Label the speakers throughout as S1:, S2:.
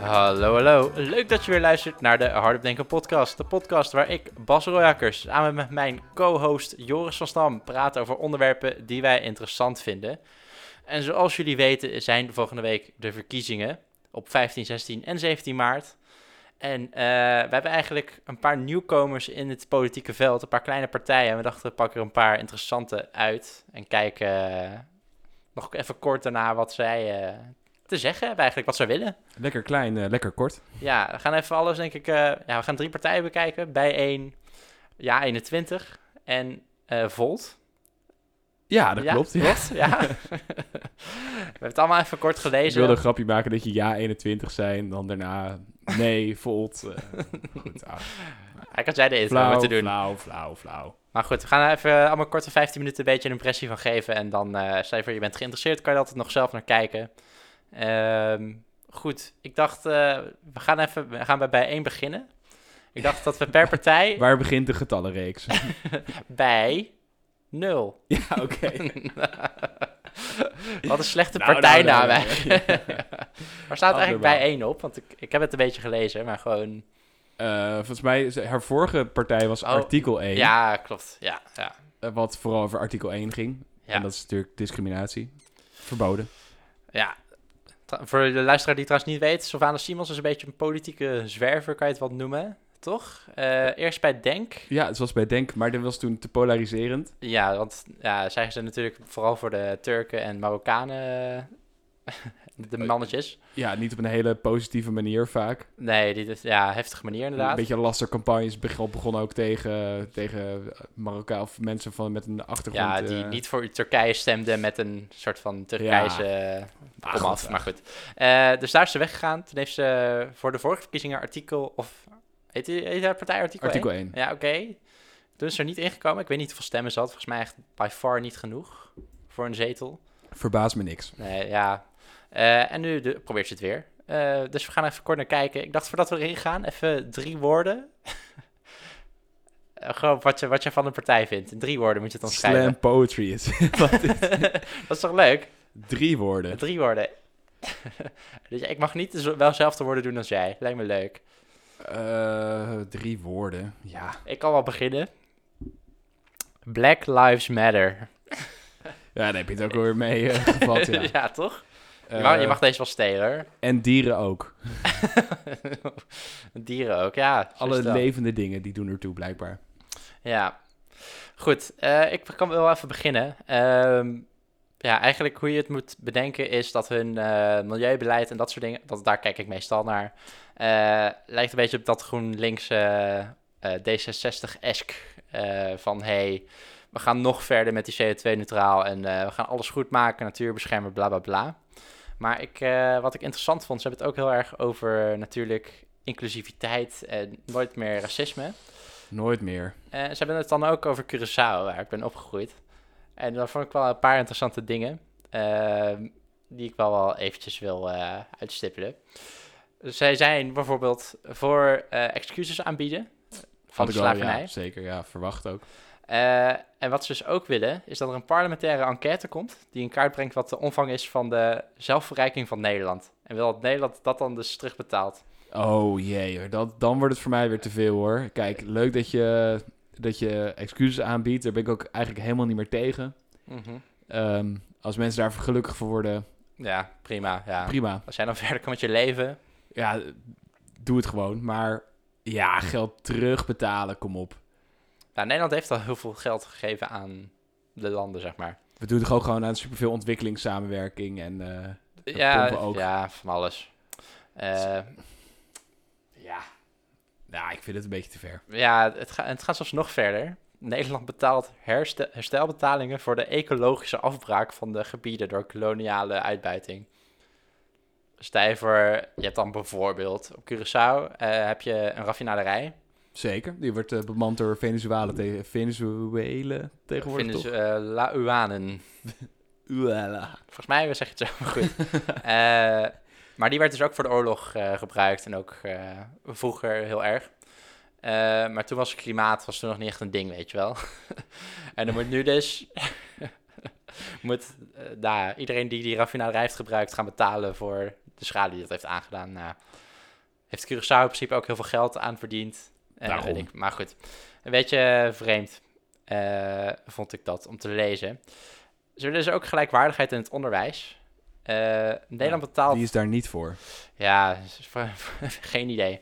S1: Hallo, hallo. Leuk dat je weer luistert naar de Hardop Denken podcast. De podcast waar ik, Bas Royakkers, samen met mijn co-host Joris van Stam praat over onderwerpen die wij interessant vinden. En zoals jullie weten zijn volgende week de verkiezingen op 15, 16 en 17 maart. En eh, we hebben eigenlijk een paar nieuwkomers in het politieke veld, een paar kleine partijen. En we dachten, we pakken er een paar interessante uit en kijken eh, nog even kort daarna wat zij eh, te zeggen hebben eigenlijk, wat zij willen.
S2: Lekker klein, eh, lekker kort.
S1: Ja, we gaan even alles, denk ik. eh, ja, we gaan drie partijen bekijken. Bij 1, ja, 21 en eh, Volt.
S2: Ja, dat klopt. Ja.
S1: Ja. we hebben het allemaal even kort
S2: Ik
S1: gelezen.
S2: wilde een grapje maken dat je ja 21 zijn, dan daarna nee, volt. eh, goed, ah,
S1: Ik had jij de intro
S2: flauw,
S1: moeten doen.
S2: flauw, flauw, flauw.
S1: Maar goed, we gaan er even allemaal korte 15 minuten een beetje een impressie van geven. En dan, eh stel je voor je bent geïnteresseerd, kan je er altijd nog zelf naar kijken. Ehm, goed, ik dacht, eh, we gaan even we gaan bij bij 1 beginnen. Ik dacht dat we per partij
S2: Waar begint de getallenreeks?
S1: bij 0.
S2: ja, oké.
S1: Wat een slechte
S2: Nou,
S1: partijnaam
S2: nou, nou,
S1: eigenlijk. Waar staat
S2: Had
S1: eigenlijk
S2: normaal.
S1: bij één op? Want ik, ik heb het een beetje gelezen, maar gewoon...
S2: Eh, volgens mij, is- haar vorige partij was
S1: Oh,
S2: artikel 1,
S1: Ja, klopt. Ja, ja.
S2: eh, wat vooral over artikel 1 ging.
S1: Ja.
S2: En dat is natuurlijk discriminatie. Verboden.
S1: ja. Tra- voor de luisteraar die het trouwens niet weet, Sylvana Simons is een beetje een politieke zwerver, kan je het wel noemen, toch? Eh, eerst bij Denk.
S2: Ja, zoals bij Denk, maar dat was toen te polariserend.
S1: Ja, want ja, zij zijn natuurlijk vooral voor de Turken en Marokkanen eh, de mannetjes.
S2: Ja, niet op een hele positieve manier vaak.
S1: Nee, dit is ja, heftige manier
S2: Een
S1: inderdaad.
S2: beetje lastige campagnes begon, begon ook tegen, tegen Marokkaan of mensen van, met een achtergrond.
S1: Ja, die
S2: eh,
S1: niet voor Turkije stemde met een soort van Turkije
S2: Ah,
S1: kom
S2: goed,
S1: af. Maar goed. Eh, dus daar is ze weggegaan. Toen heeft ze voor de vorige verkiezingen artikel of heet, die, heet haar partij artikel,
S2: Artikel
S1: 1?
S2: 1.
S1: Ja, oké. Toen is ze er niet ingekomen. Ik weet niet hoeveel stemmen ze had. Volgens mij echt by far niet genoeg voor een zetel.
S2: Verbaast me niks.
S1: Nee, ja. Eh, en nu de- probeert ze het weer. Eh, dus we gaan even kort naar kijken. Ik dacht voordat we erin gaan, even drie woorden. Eh, Gewoon wat je, wat je van een partij vindt. In drie woorden moet je het dan schrijven.
S2: Slam poetry is
S1: Dat is toch leuk?
S2: drie woorden.
S1: Drie woorden. dus ja, ik mag niet zo- wel zelf de woorden doen als jij. Lijkt me leuk.
S2: Eh, drie woorden, ja.
S1: Ik kan wel beginnen. Black Lives Matter.
S2: Ja, daar heb je het ook weer mee eh, gevat, ja.
S1: toch? je, mag, je
S2: Eh,
S1: mag deze wel stelen. hoor.
S2: En dieren ook.
S1: Dieren ook, ja. zo
S2: Alle
S1: is dat.
S2: levende dingen, die doen ertoe blijkbaar.
S1: Ja. Goed, eh, ik kan wel even beginnen. Ehm, ja, eigenlijk hoe je het moet bedenken is dat hun eh, milieubeleid en dat soort dingen, dat, daar kijk ik meestal naar, eh, lijkt een beetje op dat GroenLinks eh D66-esk eh, van hey, we gaan nog verder met die CO2-neutraal en eh, we gaan alles goed maken, natuur beschermen, bla bla bla. Maar ik, eh, wat ik interessant vond, ze hebben het ook heel erg over natuurlijk inclusiviteit en nooit meer racisme.
S2: Nooit meer.
S1: Eh, ze hebben het dan ook over Curaçao, waar ik ben opgegroeid. En daar vond ik wel een paar interessante dingen. ehm, die ik wel wel eventjes wil eh, uitstippelen. Zij zijn bijvoorbeeld voor eh, excuses aanbieden van de
S2: Had ik wel, ja,
S1: slavernij.
S2: zeker, ja, verwacht ook.
S1: Eh, en wat ze dus ook willen, is dat er een parlementaire enquête komt. die in kaart brengt wat de omvang is van de zelfverrijking van Nederland. En wil dat Nederland dat dan dus terugbetaalt.
S2: Oh jee, hoor. dat, dan wordt het voor mij weer te veel hoor. Kijk, leuk dat je, dat je excuses aanbiedt. Daar ben ik ook eigenlijk helemaal niet meer tegen. Ehm, als mensen daar gelukkig voor worden,
S1: Ja, prima. Ja.
S2: prima.
S1: Als jij dan verder kan met je leven.
S2: Ja, doe het gewoon. Maar ja, geld terugbetalen, kom op.
S1: Nou, Nederland heeft al heel veel geld gegeven aan de landen, zeg maar.
S2: We doen gewoon gewoon aan superveel ontwikkelingssamenwerking. En eh,
S1: Ja,
S2: pompen ook.
S1: ja, van alles. Eh,
S2: ja, nou, ik vind het een beetje te ver.
S1: ja, het, ga, het gaat zelfs nog verder. Nederland betaalt herstel- herstelbetalingen voor de ecologische afbraak van de gebieden door koloniale uitbuiting. Stijver, je hebt dan bijvoorbeeld op Curaçao eh, heb je een raffinaderij.
S2: Zeker. Die wordt eh, bemand door Venezuela, tegen Venezuela tegenwoordig,
S1: Vinden
S2: toch?
S1: ze eh, Lauanen.
S2: Uela.
S1: Volgens mij zeg je het zo goed. Eh, maar die werd dus ook voor de oorlog eh, gebruikt en ook eh, vroeger heel erg. Eh, maar toen was klimaat was toen nog niet echt een ding, weet je wel. en dan moet nu dus moet, eh, nou, iedereen die die raffinaderij heeft gebruikt gaan betalen voor de schade die dat heeft aangedaan. Nou, heeft Curaçao in principe ook heel veel geld aan verdiend. En
S2: Daarom.
S1: weet ik. Maar goed, een beetje vreemd eh, vond ik dat om te lezen. Ze willen dus ook gelijkwaardigheid in het onderwijs. Eh, Nederland betaalt...
S2: Die is daar niet voor.
S1: Ja, is voor- geen idee.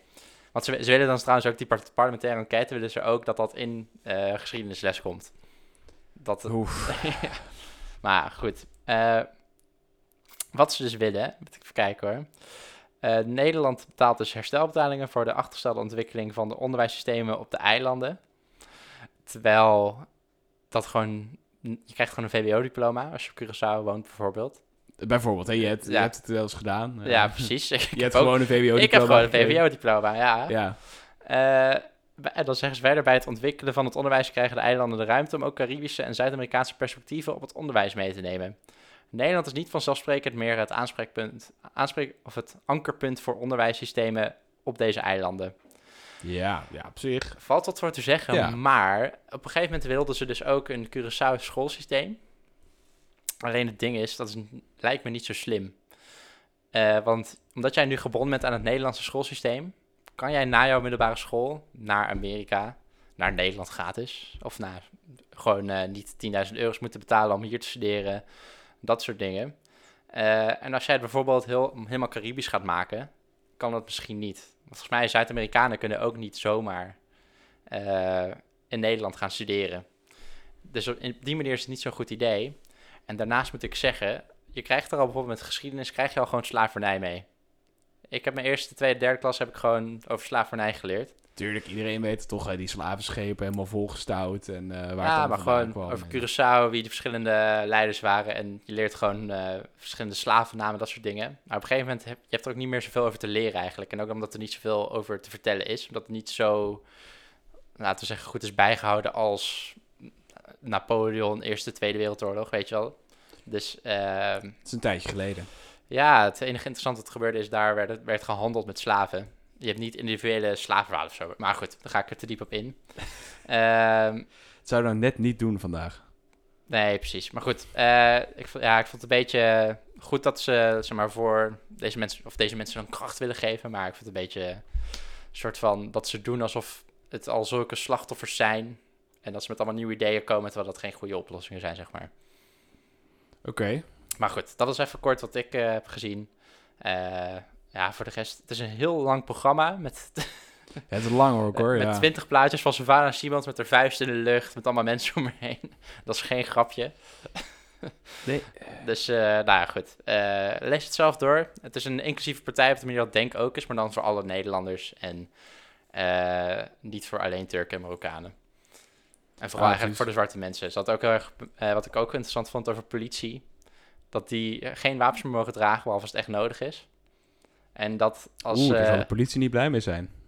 S1: Want ze, ze willen dan trouwens ook die par- parlementaire enquête... willen ze ook dat dat in eh, geschiedenisles komt. Dat,
S2: Oef.
S1: ja. Maar goed. eh, wat ze dus willen, moet ik even kijken hoor. Eh, Nederland betaalt dus herstelbetalingen voor de achtergestelde ontwikkeling van de onderwijssystemen op de eilanden. Terwijl dat gewoon. Je krijgt gewoon een VWO-diploma als je op Curaçao woont, bijvoorbeeld.
S2: Bijvoorbeeld, hè, je, hebt, je
S1: Ja.
S2: hebt het wel eens gedaan. eh.
S1: Ja, precies. Ik
S2: Je hebt
S1: ook-
S2: gewoon een VWO-diploma.
S1: ik heb gewoon een
S2: gekregen.
S1: VWO-diploma, ja.
S2: Ja,
S1: Eh, bij- en dan zeggen ze verder bij het ontwikkelen van het onderwijs krijgen de eilanden de ruimte om ook Caribische en Zuid-Amerikaanse perspectieven op het onderwijs mee te nemen. Nederland is niet vanzelfsprekend meer het aanspreekpunt, aanspreek, of het ankerpunt voor onderwijssystemen op deze eilanden.
S2: ja, ja, op zich.
S1: Valt wat voor te zeggen,
S2: Ja.
S1: maar op een gegeven moment wilden ze dus ook een Curaçao schoolsysteem. Alleen het ding is, dat is, n- lijkt me niet zo slim. Eh, want omdat jij nu gebonden bent aan het Nederlandse schoolsysteem, kan jij na jouw middelbare school naar Amerika, naar Nederland gratis, of naar gewoon eh, niet 10.000 euro's moeten betalen om hier te studeren, dat soort dingen. Eh, en als jij het bijvoorbeeld heel, helemaal Caribisch gaat maken, kan dat misschien niet. Want volgens mij Zuid-Amerikanen kunnen ook niet zomaar eh, in Nederland gaan studeren. Dus op in- op die manier is het niet zo'n goed idee. En daarnaast moet ik zeggen, je krijgt er al bijvoorbeeld met geschiedenis, krijg je al gewoon slavernij mee. Ik heb mijn eerste, tweede, derde klas heb ik gewoon over slavernij geleerd.
S2: Tuurlijk, iedereen weet het toch, hè, die slavenschepen helemaal volgestouwd en eh, waar het
S1: ja,
S2: allemaal
S1: Ah, maar
S2: vandaan
S1: gewoon
S2: kwam.
S1: over
S2: En-
S1: Curaçao, wie de verschillende leiders waren. En je leert gewoon eh, verschillende slavennamen, dat soort dingen. Maar op een gegeven moment heb je hebt er ook niet meer zoveel over te leren eigenlijk. En ook omdat er niet zoveel over te vertellen is. Omdat het niet zo, laten we zeggen, goed is bijgehouden als Napoleon, Eerste, Tweede Wereldoorlog, weet je wel. Dus ehm,
S2: Het is een tijdje geleden.
S1: ja, het enige interessante wat gebeurde is, daar werd, werd gehandeld met slaven. Je hebt niet individuele slavenverhalen of zo. Maar goed, daar ga ik er te diep op in. Ehm
S2: Het zou nou net niet doen vandaag.
S1: Nee, precies. Maar goed, eh, ik, vond- ja, ik vond het een beetje eh, goed dat ze zeg maar, voor deze mensen, of deze mensen dan kracht willen geven. Maar ik vond het een beetje een soort van dat ze doen alsof het al zulke slachtoffers zijn. En dat ze met allemaal nieuwe ideeën komen, terwijl dat geen goede oplossingen zijn, zeg maar.
S2: Oké.
S1: Maar goed, dat is even kort wat ik eh, heb gezien. Eh, ja, voor de rest, het is een heel lang programma met,
S2: Het is lang hoor, hoor.
S1: met
S2: ja.
S1: twintig plaatjes van Savannah Simons met haar vuist in de lucht, met allemaal mensen om haar heen. Dat is geen grapje.
S2: Nee.
S1: Dus, eh, nou ja, goed. Eh, lees het zelf door. Het is een inclusieve partij op de manier dat Denk ook is, maar dan voor alle Nederlanders en eh, niet voor alleen Turken en Marokkanen. En vooral
S2: Ah,
S1: eigenlijk
S2: dus-
S1: voor de zwarte mensen. Ze had ook heel erg, eh, wat ik ook interessant vond over politie, dat die eh, geen wapens meer mogen dragen, behalve als het echt nodig is. En dat als...
S2: Oeh, daar
S1: eh,
S2: zal de politie niet blij mee zijn.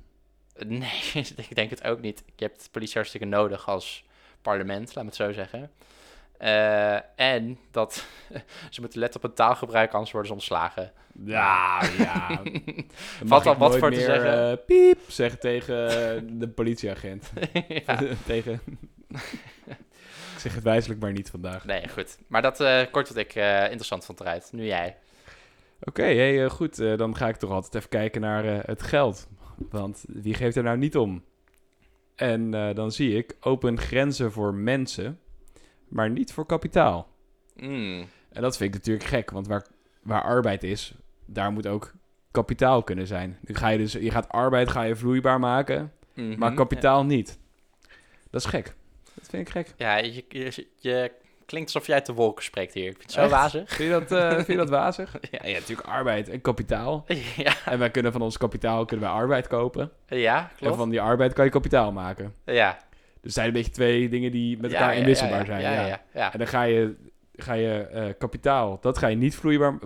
S1: Nee, ik denk het ook niet. Je hebt de politie hartstikke nodig als parlement, laat me het zo zeggen. Eh, en dat ze moeten letten op het taalgebruik, anders worden ze ontslagen.
S2: Ja, ja.
S1: Valt al wat voor te zeggen.
S2: zeggen. eh, piep, zeggen tegen eh, de politieagent.
S1: ja.
S2: tegen... ik zeg het wijselijk maar niet vandaag.
S1: Nee, goed. Maar dat eh, kort wat ik eh, interessant vond eruit. Nu jij.
S2: Oké, hey, eh, goed. eh, dan ga ik toch altijd even kijken naar eh, het geld. Want wie geeft er nou niet om? En eh, dan zie ik open grenzen voor mensen, maar niet voor kapitaal.
S1: Mm,
S2: En dat vind ik natuurlijk gek, want waar, waar arbeid is, daar moet ook kapitaal kunnen zijn. Nu ga je, dus, je gaat arbeid ga je vloeibaar maken,
S1: mhm.
S2: maar kapitaal niet. Dat is gek. Dat vind ik gek.
S1: Ja, je, je, je klinkt alsof jij uit de wolken spreekt hier. Ik vind het zo
S2: Echt?
S1: wazig.
S2: Vind je dat, eh, vind je dat wazig?
S1: Ja.
S2: ja, natuurlijk arbeid en kapitaal.
S1: ja,
S2: En wij kunnen van ons kapitaal kunnen wij arbeid kopen.
S1: ja,
S2: En
S1: klopt.
S2: van die arbeid kan je kapitaal maken.
S1: Ja.
S2: Dus het zijn een beetje twee dingen die met
S1: Ja,
S2: elkaar
S1: ja,
S2: inwisselbaar
S1: ja,
S2: zijn.
S1: Ja,
S2: Ja,
S1: ja, ja. ja.
S2: En dan ga je, ga je eh, kapitaal, dat ga je niet vloeibaar...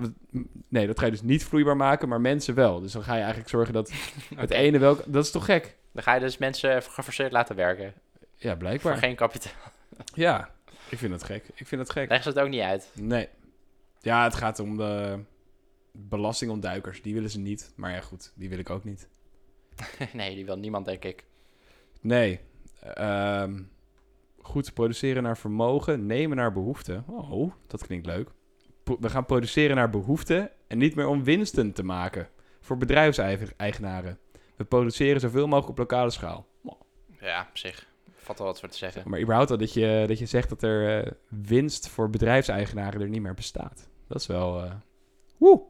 S2: Nee, dat ga je dus niet vloeibaar maken, maar mensen wel. Dus dan ga je eigenlijk zorgen dat het
S1: Oké.
S2: ene wel... Dat is toch gek?
S1: Dan ga je dus mensen geforceerd laten werken.
S2: Ja,
S1: Voor
S2: blijkbaar.
S1: geen kapitaal.
S2: Ja, ik vind dat gek. Ik vind dat gek.
S1: Leggen ze het ook niet uit.
S2: Nee. Ja, het gaat om de belastingontduikers. Die willen ze niet. Maar ja, goed, die wil ik ook niet.
S1: nee, die wil niemand, denk ik.
S2: Nee. Ehm, goed, produceren naar vermogen, nemen naar behoefte. Oh, dat klinkt leuk. Pro- We gaan produceren naar behoefte en niet meer om winsten te maken. voor bedrijfseigenaren. We produceren zoveel mogelijk op lokale schaal. Wow.
S1: Ja, op zich. Valt wel wat voor te zeggen.
S2: Maar überhaupt al dat je, dat je zegt dat er eh, winst voor bedrijfseigenaren er niet meer bestaat. Dat is wel... eh, woe!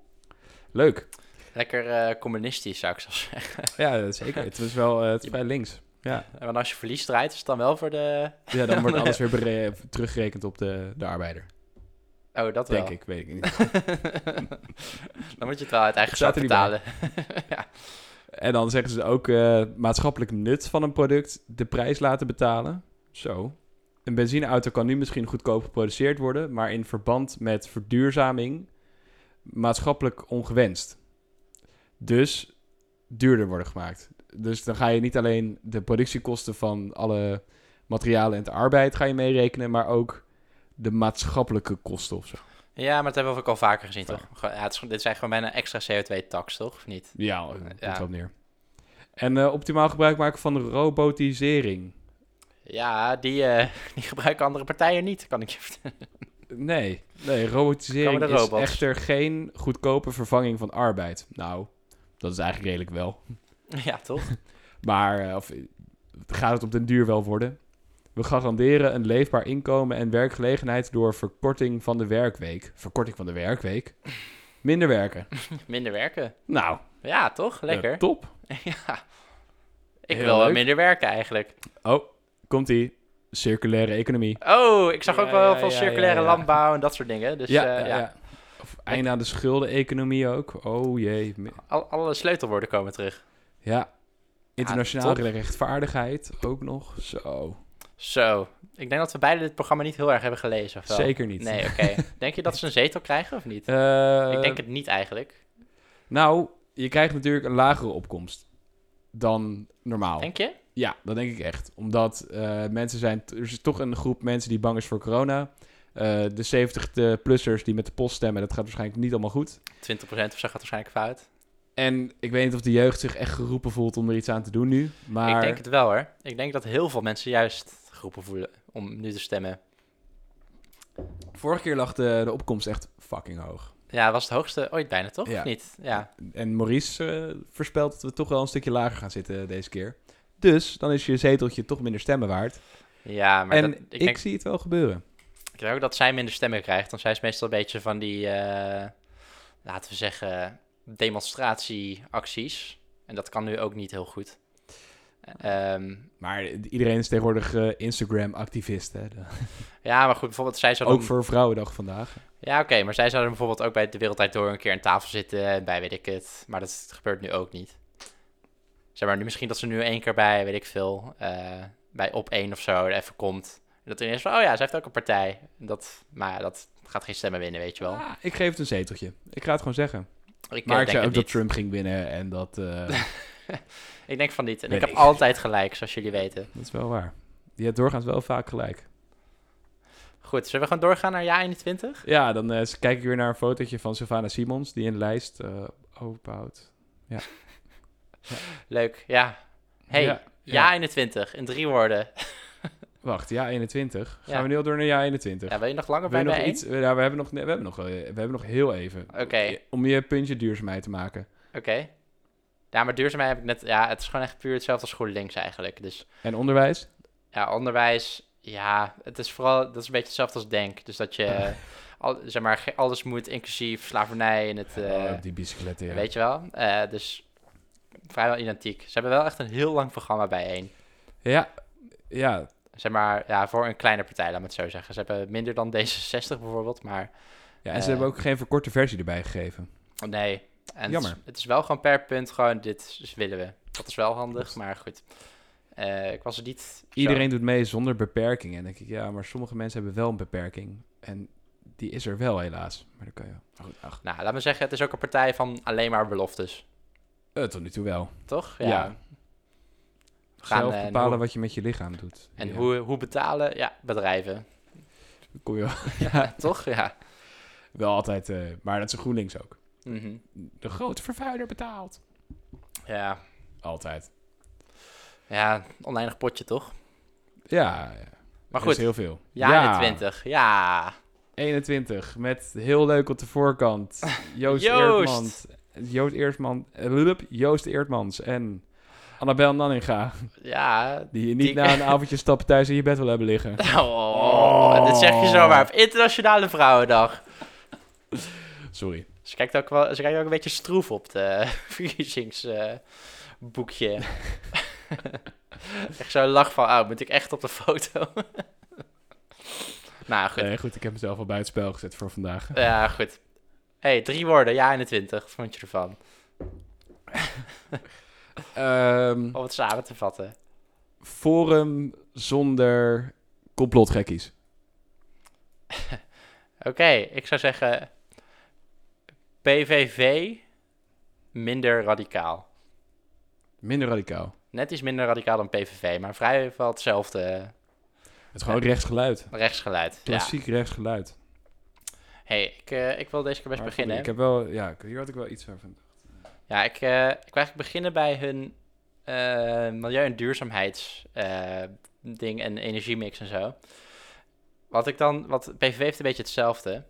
S2: Leuk.
S1: Lekker eh, communistisch, zou ik zo zeggen.
S2: Ja, dat zeker. Het is wel eh, het is vrij links. Ja.
S1: Want als je verlies draait, is het dan wel voor de...
S2: Ja, dan wordt alles weer bere- teruggerekend op de, de arbeider.
S1: Oh, dat
S2: Denk
S1: wel.
S2: ik, weet ik niet.
S1: dan moet je het wel uit eigen zak
S2: Staat er niet bij.
S1: betalen.
S2: En dan zeggen ze ook eh, maatschappelijk nut van een product, de prijs laten betalen. Zo. Een benzineauto kan nu misschien goedkoop geproduceerd worden, maar in verband met verduurzaming maatschappelijk ongewenst. Dus duurder worden gemaakt. Dus dan ga je niet alleen de productiekosten van alle materialen en de arbeid ga je meerekenen, maar ook de maatschappelijke kosten of zo.
S1: Ja, maar dat hebben we ook al vaker gezien, toch? Gewoon- Ja, het is, dit zijn gewoon bijna extra CO2-tax, toch? Of niet?
S2: Ja, dat komt
S1: Ja.
S2: wel neer. En eh, optimaal gebruik maken van robotisering.
S1: Ja, die, eh, die gebruiken andere partijen niet, kan ik je vertellen.
S2: Nee, nee
S1: Komen
S2: robotisering
S1: de
S2: is
S1: robots?
S2: echter geen goedkope vervanging van arbeid. Nou, dat is eigenlijk redelijk wel.
S1: Ja, toch?
S2: Maar eh, of, eh, gaat het op den duur wel worden? We garanderen een leefbaar inkomen en werkgelegenheid door verkorting van de werkweek. Verkorting van de werkweek? Minder werken.
S1: Minder werken.
S2: Nou,
S1: Ja, toch? Lekker.
S2: eh, top.
S1: Ja. Ik
S2: Heel
S1: wil wel
S2: leuk.
S1: minder werken eigenlijk.
S2: Oh, komt-ie. Circulaire economie.
S1: Oh, ik zag
S2: Ja,
S1: ook wel
S2: ja,
S1: veel
S2: ja,
S1: circulaire
S2: ja, ja.
S1: landbouw en dat soort dingen. Dus
S2: ja,
S1: eh,
S2: ja,
S1: ja.
S2: ja. Of einde aan de schuldeneconomie ook. Oh jee. Me-
S1: Al- alle sleutelwoorden komen terug.
S2: Ja. Internationale
S1: top.
S2: rechtvaardigheid ook nog. Zo.
S1: Zo, ik denk dat we beide dit programma niet heel erg hebben gelezen. Of wel?
S2: Zeker niet.
S1: Nee, oké. denk je dat ze een zetel krijgen of niet?
S2: Eh,
S1: ik denk het niet eigenlijk.
S2: Nou, je krijgt natuurlijk een lagere opkomst dan normaal.
S1: Denk je?
S2: Ja, dat denk ik echt. Omdat eh, mensen zijn... Er is toch een groep mensen die bang is voor corona. Eh, de 70-plussers die met de post stemmen, dat gaat waarschijnlijk niet allemaal goed.
S1: 20% of zo gaat waarschijnlijk fout.
S2: En ik weet niet of de jeugd zich echt geroepen voelt om er iets aan te doen nu. Maar
S1: Ik denk het wel hoor. Ik denk dat heel veel mensen juist groepen voelen om nu te stemmen.
S2: vorige keer lag de, de opkomst echt fucking hoog.
S1: Ja, was het hoogste ooit bijna toch?
S2: Ja.
S1: Of niet? Ja.
S2: En Maurice eh, voorspelt dat we toch wel een stukje lager gaan zitten deze keer. Dus dan is je zeteltje toch minder stemmen waard.
S1: Ja, maar
S2: en
S1: dat- ik,
S2: ik,
S1: denk,
S2: zie het wel gebeuren.
S1: ik denk ook dat zij minder stemmen krijgt. Want zij is meestal een beetje van die, eh, laten we zeggen, demonstratieacties. En dat kan nu ook niet heel goed. Ehm,
S2: Maar iedereen is tegenwoordig eh, Instagram-activist. hè.
S1: ja, maar goed, bijvoorbeeld zij zou dan-
S2: Ook voor Vrouwendag vandaag.
S1: Ja, oké, maar zij zouden bijvoorbeeld ook bij de Wereldtijd Door een keer aan tafel zitten en bij weet ik het. Maar dat gebeurt nu ook niet. Zeg maar, nu misschien dat ze nu één keer bij, weet ik veel, eh, bij op één of zo er even komt. En dat iedereen is van, oh ja, ze heeft ook een partij. Dat, maar ja, dat gaat geen stemmen winnen, weet je wel.
S2: Ah, ik geef het een zeteltje. Ik ga het gewoon zeggen.
S1: Ik, eh,
S2: maar ik
S1: denk
S2: zei ook
S1: het
S2: dat
S1: niet.
S2: Trump ging winnen en dat, eh,
S1: Ik denk van niet. En
S2: Nee,
S1: ik heb
S2: ik-
S1: altijd gelijk, zoals jullie weten.
S2: dat is wel waar. Je hebt doorgaans wel vaak gelijk.
S1: Goed, zullen we gewoon doorgaan naar jaar 21?
S2: Ja, dan eh, kijk ik weer naar een fotootje van Savannah Simons, die in de lijst eh ophoudt.
S1: Leuk, ja. Hey,
S2: Ja,
S1: jaar 21, in drie woorden.
S2: Wacht, ja 21. Gaan
S1: Ja.
S2: we nu al door naar ja 21?
S1: Ja, wil je nog langer
S2: We
S1: bij
S2: hebben nog
S1: bij
S2: iets. Ja, we hebben nog, nee, we hebben nog, eh, we hebben nog heel even.
S1: Oké.
S2: Om je puntje duurzaamheid te maken.
S1: Oké. Ja, maar duurzaamheid heb ik net... Ja, het is gewoon echt puur hetzelfde als GroenLinks eigenlijk. Dus
S2: En onderwijs?
S1: ja, onderwijs... Ja, het is vooral... Dat is een beetje hetzelfde als denk. Dus dat je... eh, Al, zeg maar, ge- alles moet inclusief slavernij en het... eh,
S2: Oh, op die bicycletten, ja.
S1: Weet je wel? Eh, dus vrijwel identiek. Ze hebben wel echt een heel lang programma bijeen.
S2: Ja, ja,
S1: Zeg maar, ja, voor een kleine partij, laat me het zo zeggen. Ze hebben minder dan D66 bijvoorbeeld, maar
S2: ja. En ze
S1: Eh.
S2: hebben ook geen verkorte versie erbij gegeven.
S1: nee. En
S2: Jammer.
S1: Het is, het is wel gewoon per punt gewoon, dit is- willen we. Dat is wel handig, maar goed. Eh, ik was er niet... zo-
S2: Iedereen doet mee zonder beperking. En dan denk ik, ja, maar sommige mensen hebben wel een beperking. En die is er wel, helaas. Maar dan kan je... maar Goed, ach,
S1: Nou, laat me zeggen, het is ook een partij van alleen maar beloftes,
S2: eh, tot nu toe wel.
S1: toch?
S2: Ja.
S1: We gaan,
S2: Zelf
S1: eh, en
S2: bepalen
S1: hoe-
S2: wat je met je lichaam doet.
S1: En
S2: Ja.
S1: hoe, hoe betalen? Ja, bedrijven.
S2: Kom je wel,
S1: toch? Ja.
S2: wel altijd... eh, maar dat is een GroenLinks ook.
S1: Mhm.
S2: De grote vervuiler betaalt.
S1: ja.
S2: Altijd.
S1: Ja, oneindig potje, toch?
S2: Ja, ja.
S1: Maar
S2: Er is
S1: goed,
S2: heel veel.
S1: ja, 21. Ja.
S2: 21 met heel leuk op de voorkant Joost
S1: Joost!
S2: Eerdmans Joost, Eersman, eh, lulup, Joost Eertmans en Annabel Nanninga.
S1: Ja.
S2: Die je niet
S1: Die-
S2: na een avondje stappen thuis in je bed wil hebben liggen.
S1: Oh, Dit zeg je zomaar op Internationale Vrouwendag.
S2: Sorry.
S1: Ze kijkt ook, wel, ze kijkt ook een beetje stroef op eh, de verkiezingsboekje. echt zo'n lach van, oh, moet ik echt op de foto? nou, goed.
S2: Nee, Eh, goed, ik heb mezelf al buiten spel gezet voor vandaag.
S1: Ja, goed. hey, drie woorden. Ja, 21. Wat vond je ervan?
S2: Ehm,
S1: Om het samen te vatten.
S2: forum zonder complotgekkies.
S1: Oké, ik zou zeggen... PVV minder radicaal.
S2: Minder radicaal.
S1: Net iets minder radicaal dan PVV, maar vrijwel hetzelfde eh,
S2: Het is gewoon rechtsgeluid.
S1: rechtsgeluid. Ja.
S2: Klassiek rechtsgeluid.
S1: hey, ik, eh, ik wil deze keer best
S2: Maar
S1: beginnen.
S2: goed, Ik heb wel, ja, ik- hier had ik wel iets van.
S1: Ja, ik, eh, ik wil eigenlijk beginnen bij hun eh, milieu- en duurzaamheidsding eh, en energiemix en zo. Wat ik dan, wat PVV heeft een beetje hetzelfde.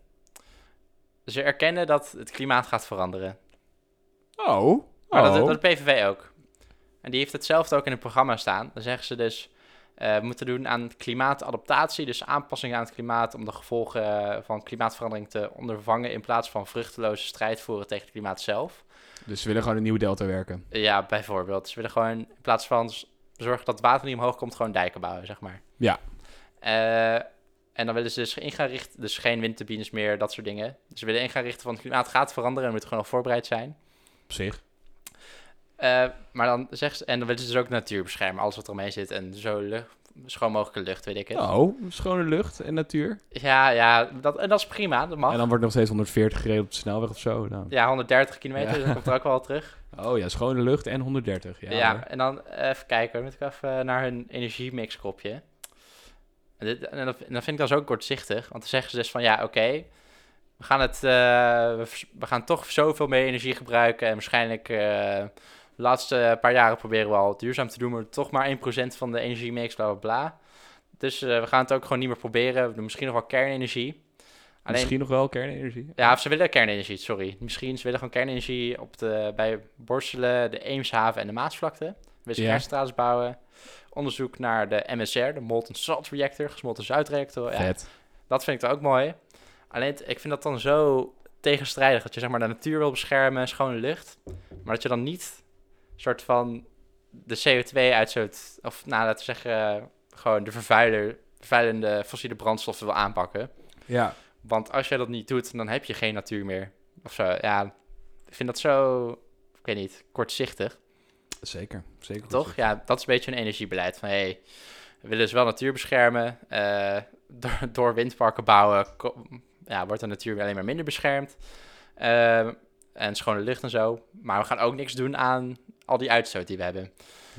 S1: Ze erkennen dat het klimaat gaat veranderen.
S2: Oh.
S1: Maar dat,
S2: Oh.
S1: dat de PVV ook. En die heeft hetzelfde ook in het programma staan. Dan zeggen ze dus, eh, we moeten doen aan klimaatadaptatie, dus aanpassingen aan het klimaat om de gevolgen eh, van klimaatverandering te ondervangen in plaats van vruchteloze strijd voeren tegen het klimaat zelf.
S2: Dus ze willen gewoon een nieuwe delta werken.
S1: Ja, bijvoorbeeld. Ze willen gewoon in plaats van z- zorgen dat het water niet omhoog komt, gewoon dijken bouwen, zeg maar.
S2: Ja.
S1: Eh, en dan willen ze dus in gaan richten, dus geen windturbines meer, dat soort dingen. Dus ze willen in gaan richten van het klimaat gaat veranderen en we moeten gewoon al voorbereid zijn.
S2: Op zich.
S1: Eh, maar dan zegt ze, en dan willen ze dus ook natuur beschermen, alles wat er omheen zit en zo lucht, schoon mogelijke lucht, weet ik het.
S2: Oh, schone lucht en natuur.
S1: Ja, ja, dat, en dat is prima, dat mag.
S2: En dan wordt nog steeds 140 gereden op de snelweg of zo. Nou.
S1: Ja, 130 kilometer, dus
S2: Ja.
S1: dat komt er ook wel terug.
S2: Oh ja, schone lucht en 130. Ja,
S1: Ja,
S2: hoor.
S1: en dan eh, even kijken, hoor. moet ik even naar hun energiemixkopje. En, dit, en, dat, en dat vind ik dan zo kortzichtig, want dan zeggen ze dus van ja, oké, we gaan het, eh, we, vers- we gaan toch zoveel meer energie gebruiken en waarschijnlijk eh, de laatste paar jaren proberen we al duurzaam te doen, maar toch maar 1% van de energiemix, bla bla bla. Dus eh, we gaan het ook gewoon niet meer proberen. We doen misschien nog wel kernenergie. Alleen,
S2: Misschien nog wel kernenergie.
S1: ja, of ze willen kernenergie, sorry. Misschien ze willen gewoon kernenergie op de, bij Borselen, de Eemshaven en de Maasvlakte. Willen ze
S2: Ja.
S1: kerncentrales bouwen. Onderzoek naar de MSR, de Molten Salt Reactor, gesmolten zoutreactor. Ja,
S2: Vet.
S1: dat vind ik dan ook mooi. Alleen, het- ik vind dat dan zo tegenstrijdig. Dat je zeg maar de natuur wil beschermen, schone lucht. Maar dat je dan niet soort van de CO2 uitstoot... Of nou, laten we zeggen, gewoon de vervuiler, vervuilende fossiele brandstoffen wil aanpakken.
S2: Ja.
S1: Want als jij dat niet doet, dan heb je geen natuur meer. Of zo. Ja, ik vind dat zo, ik weet niet, kortzichtig.
S2: Zeker. Zeker.
S1: Toch? Ja, dat is een beetje een energiebeleid. Van hé, hey, we willen dus wel natuur beschermen. eh, door, door windparken bouwen ko- ja, wordt de natuur weer alleen maar minder beschermd. Ehm, en schone lucht en zo. Maar we gaan ook niks doen aan al die uitstoot die we hebben.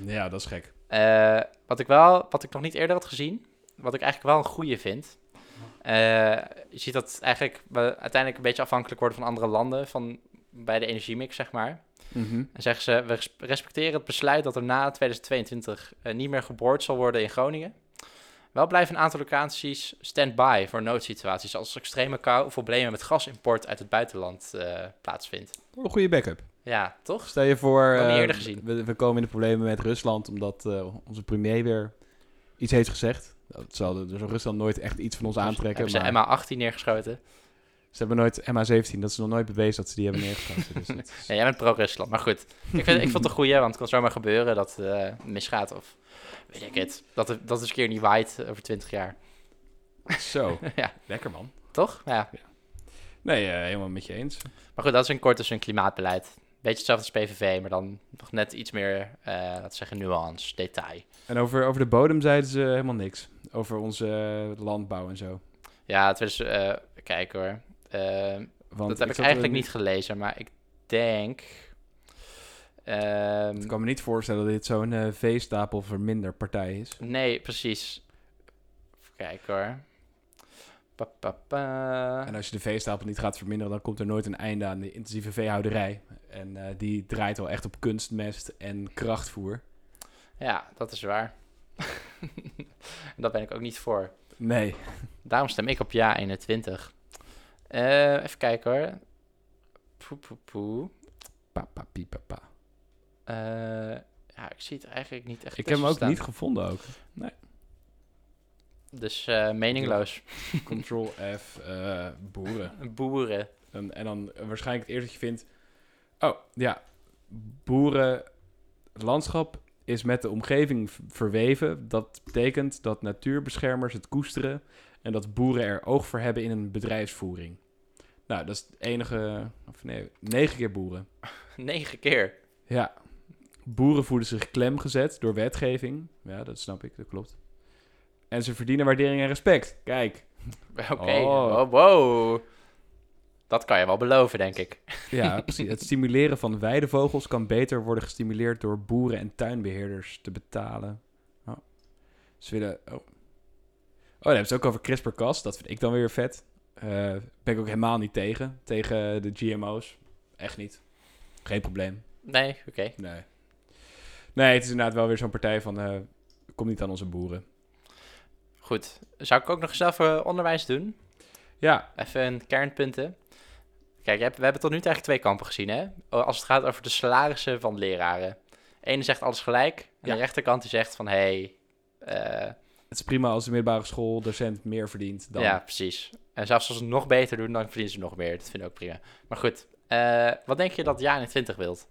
S2: Ja, dat is gek.
S1: Eh, wat ik wel, wat ik nog niet eerder had gezien, wat ik eigenlijk wel een goede vind. Eh, je ziet dat eigenlijk we uiteindelijk een beetje afhankelijk worden van andere landen, van bij de energiemix, zeg maar. En zeggen ze, we res- respecteren het besluit dat er na 2022 eh, niet meer geboord zal worden in Groningen. Wel blijven een aantal locaties stand-by voor noodsituaties als extreme kou of problemen met gasimport uit het buitenland eh, plaatsvindt.
S2: Een goede backup.
S1: Ja, toch?
S2: Stel je voor,
S1: Nog niet
S2: eh,
S1: eerder gezien.
S2: We, we komen in de problemen met Rusland omdat eh, onze premier weer iets heeft gezegd. Dat zal dus Rusland nooit echt iets van ons aantrekken.
S1: Hebben ze
S2: maar-
S1: MA18 neergeschoten?
S2: Ze hebben nooit MH17, dat is nog nooit bewezen dat ze die hebben neergeschoten. Dus dat is-
S1: Ja, jij bent pro-Rusland, maar goed. Ik, vind, ik vond het een goeie, want het kan zomaar gebeuren dat eh, het misgaat of weet ik het. Dat het, dat het eens een keer niet waait over 20 jaar,
S2: Zo,
S1: Ja.
S2: lekker man.
S1: toch? Ja.
S2: Nee, eh, helemaal met je eens.
S1: Maar goed, dat is in kort dus hun klimaatbeleid. Beetje hetzelfde als PVV, maar dan nog net iets meer, eh laten we zeggen, nuance, detail.
S2: En over, over de bodem zeiden ze helemaal niks. Over onze eh, landbouw en zo.
S1: Ja, het was, eh kijk hoor. Eh,
S2: Want
S1: dat heb ik,
S2: zat er
S1: eigenlijk niet gelezen, maar ik denk... ehm,
S2: Ik kan me niet voorstellen dat dit zo'n eh, veestapel verminder partij is.
S1: nee, precies. Even kijken hoor. Pa, pa, pa.
S2: En als je de veestapel niet gaat verminderen, dan komt er nooit een einde aan de intensieve veehouderij. En eh, die draait wel echt op kunstmest en krachtvoer.
S1: Ja, dat is waar. En Daar ben ik ook niet voor.
S2: Nee.
S1: Daarom stem ik op ja 21. Eh, even kijken hoor. Poe, poe, poe.
S2: Pa, pa, pi, pa, pa.
S1: Eh, ja, ik zie het eigenlijk niet echt
S2: Ik heb hem
S1: tussen
S2: ook
S1: staan.
S2: niet gevonden ook.
S1: Dus eh, meningloos.
S2: Control F, eh, boeren.
S1: Boeren.
S2: En, en dan waarschijnlijk het eerste dat je vindt... Oh, ja. Boeren, landschap is met de omgeving v- verweven. Dat betekent dat natuurbeschermers het koesteren... en dat boeren er oog voor hebben in een bedrijfsvoering. Nou, dat is het enige... Of nee, negen keer boeren.
S1: Negen keer.
S2: Ja. Boeren voelen zich klemgezet door wetgeving. Ja, dat snap ik, dat klopt. En ze verdienen waardering en respect. Kijk.
S1: Oké.
S2: Oh.
S1: Wow, wow. Dat kan je wel beloven, denk ik.
S2: Ja, precies. Het stimuleren van weidevogels kan beter worden gestimuleerd door boeren en tuinbeheerders te betalen. Oh. Ze willen. Oh. oh, dan hebben ze het ook over CRISPR-Cas. Dat vind ik dan weer vet. Eh, ben ik ook helemaal niet tegen. Tegen de GMO's. Echt niet. Geen probleem.
S1: Nee, oké.
S2: Nee. Nee, het is inderdaad wel weer zo'n partij van. eh, kom niet aan onze boeren.
S1: Goed. Zou ik ook nog zelf eh, onderwijs doen?
S2: Ja,
S1: Even een kernpunten. Kijk, je hebt- we hebben tot nu toe eigenlijk twee kampen gezien, hè? O, Als het gaat over de salarissen van leraren. Ene zegt alles gelijk. En
S2: Ja.
S1: de rechterkant die zegt van, hé... Hey, eh,
S2: het is prima als de middelbare school docent meer verdient dan.
S1: Ja, precies. En zelfs als ze het nog beter doen, dan verdienen ze nog meer. Dat vind ik ook prima. Maar goed, eh, wat denk je dat Jaren 20 wilt?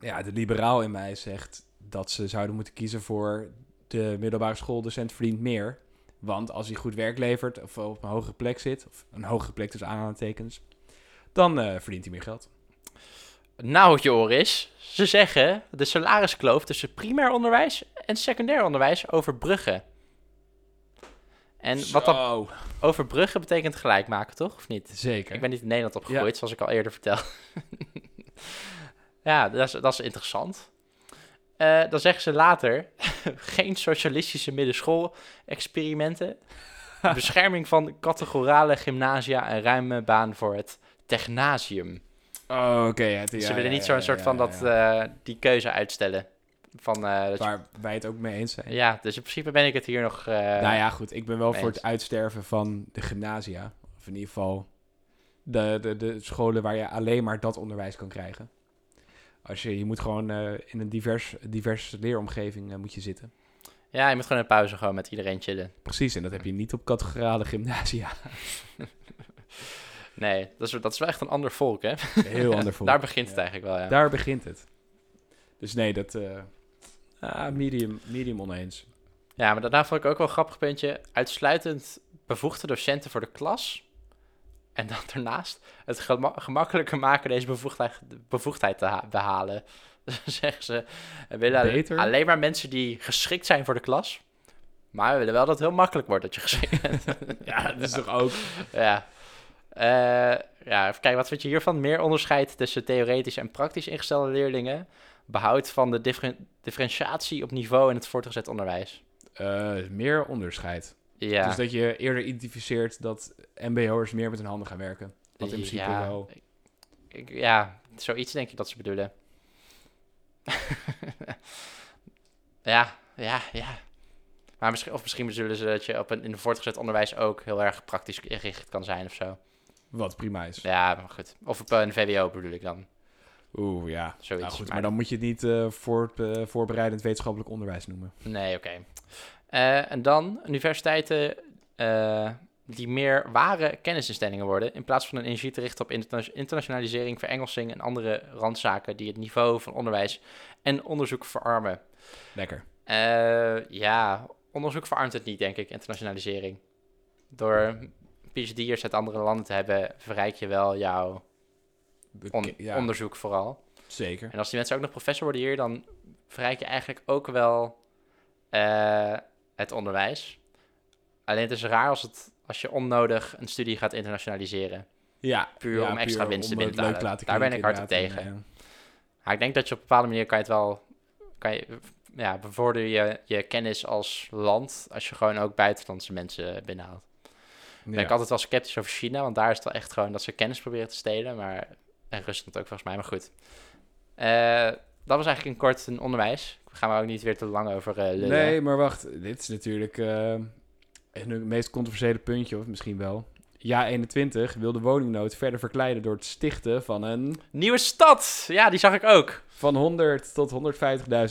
S2: ja, de liberaal in mij zegt dat ze zouden moeten kiezen voor de middelbare schooldocent verdient meer. Want als hij goed werk levert of op een hogere plek zit, of een hogere plek tussen aanhalingstekens, dan eh, verdient hij meer geld.
S1: Nou, Joris, ze zeggen de salariskloof tussen primair onderwijs en secundair onderwijs overbruggen. En wat dat
S2: Zo.
S1: overbruggen betekent gelijk maken, toch? Of niet?
S2: Zeker.
S1: Ik ben niet in Nederland opgegroeid, zoals ik al eerder vertelde. ja, dat is, dat is interessant. Eh, dan zeggen ze later, geen socialistische middenschool-experimenten, bescherming van categorale gymnasia en ruime baan voor het technasium.
S2: Oh, oké. ja, het-
S1: Dus
S2: ja,
S1: ze willen
S2: ja,
S1: niet
S2: ja,
S1: zo'n soort
S2: ja,
S1: van
S2: ja,
S1: dat,
S2: ja.
S1: eh, die keuze uitstellen. Van, eh, dat je-
S2: Waar wij het ook mee eens zijn.
S1: ja, dus in principe ben ik het hier nog... eh,
S2: nou ja, goed. Ik ben wel
S1: mee
S2: voor
S1: eens.
S2: het uitsterven van de gymnasia. Of in ieder geval de, de, de scholen waar je alleen maar dat onderwijs kan krijgen. Als je, je moet gewoon eh, in een divers, divers leeromgeving eh, moet je zitten.
S1: ja, je moet gewoon in pauze gewoon met iedereen chillen.
S2: Precies, en dat heb je niet op categorale gymnasia.
S1: Nee, dat is, dat is wel echt een ander volk, hè?
S2: Heel ander voor.
S1: Daar begint het
S2: Ja.
S1: eigenlijk wel, ja.
S2: Daar begint het. Dus nee, dat... eh, ah, medium, medium oneens.
S1: Ja, maar daarna vond ik ook wel een grappig puntje. Uitsluitend bevoegde docenten voor de klas. En dan daarnaast het gema- gemakkelijker maken deze bevoegdheid, bevoegdheid te ha- behalen. Dus dan zeggen ze, we willen alle-
S2: Beter?
S1: alleen maar mensen die geschikt zijn voor de klas. Maar we willen wel dat het heel makkelijk wordt dat je geschikt bent.
S2: Ja, dat is toch ook...
S1: ja. Eh, ja, even kijken, wat vind je hiervan? Meer onderscheid tussen theoretisch en praktisch ingestelde leerlingen. Behoud van de differen- differentiatie op niveau in het voortgezet onderwijs.
S2: eh, meer onderscheid.
S1: Ja.
S2: Dus dat je eerder identificeert dat mbo'ers meer met hun handen gaan werken. Wat in principe
S1: ja,
S2: wel...
S1: ik- ik- ja, zoiets denk ik dat ze bedoelen. ja, ja, ja. Maar misschien, of misschien bedoelen ze dat je op een, in het voortgezet onderwijs ook heel erg praktisch gericht kan zijn of zo.
S2: Wat prima is.
S1: Ja, maar goed. Of op een VWO bedoel ik dan.
S2: Oeh, ja.
S1: Zoiets.
S2: Nou goed,
S1: maar-
S2: maar dan moet je het niet eh, voor, eh, voorbereidend wetenschappelijk onderwijs noemen.
S1: Nee, oké. Eh, en dan universiteiten eh, die meer ware kennisinstellingen worden, in plaats van hun energie te richten op interna- internationalisering, verengelsing en andere randzaken die het niveau van onderwijs en onderzoek verarmen.
S2: Lekker.
S1: Eh, ja, onderzoek verarmt het niet, denk ik, internationalisering. Door PhD'ers uit andere landen te hebben, verrijk je wel jouw
S2: De-
S1: on-
S2: ja,
S1: onderzoek vooral.
S2: zeker.
S1: En als die mensen ook nog professor worden hier, dan verrijk je eigenlijk ook wel eh, het onderwijs. Alleen het is raar als, het, als je onnodig een studie gaat internationaliseren.
S2: Ja,
S1: Puur
S2: ja,
S1: om extra winsten
S2: om
S1: binnen
S2: het
S1: te
S2: leuk
S1: halen.
S2: laten
S1: Daar ben
S2: klinken,
S1: ik hard op
S2: inderdaad. eh, En,
S1: Maar ik denk dat je op een bepaalde manier kan je het wel... Kan je, ja, bevorder je je kennis als land als je gewoon ook buitenlandse mensen binnenhaalt.
S2: eh,
S1: Ben
S2: ja.
S1: ik altijd wel sceptisch over China, want daar is het wel echt gewoon dat ze kennis proberen te stelen. Maar, en Rusland ook volgens mij, maar goed. Eh, dat was eigenlijk in kort een onderwijs. We gaan er ook niet weer te lang over eh, lullen.
S2: Nee, maar wacht. Dit is natuurlijk eh, het meest controversiële puntje, of misschien wel. Ja 21 wil de woningnood verder verkleinen door het stichten van een...
S1: Nieuwe stad! Ja, die zag ik ook.
S2: van 100 tot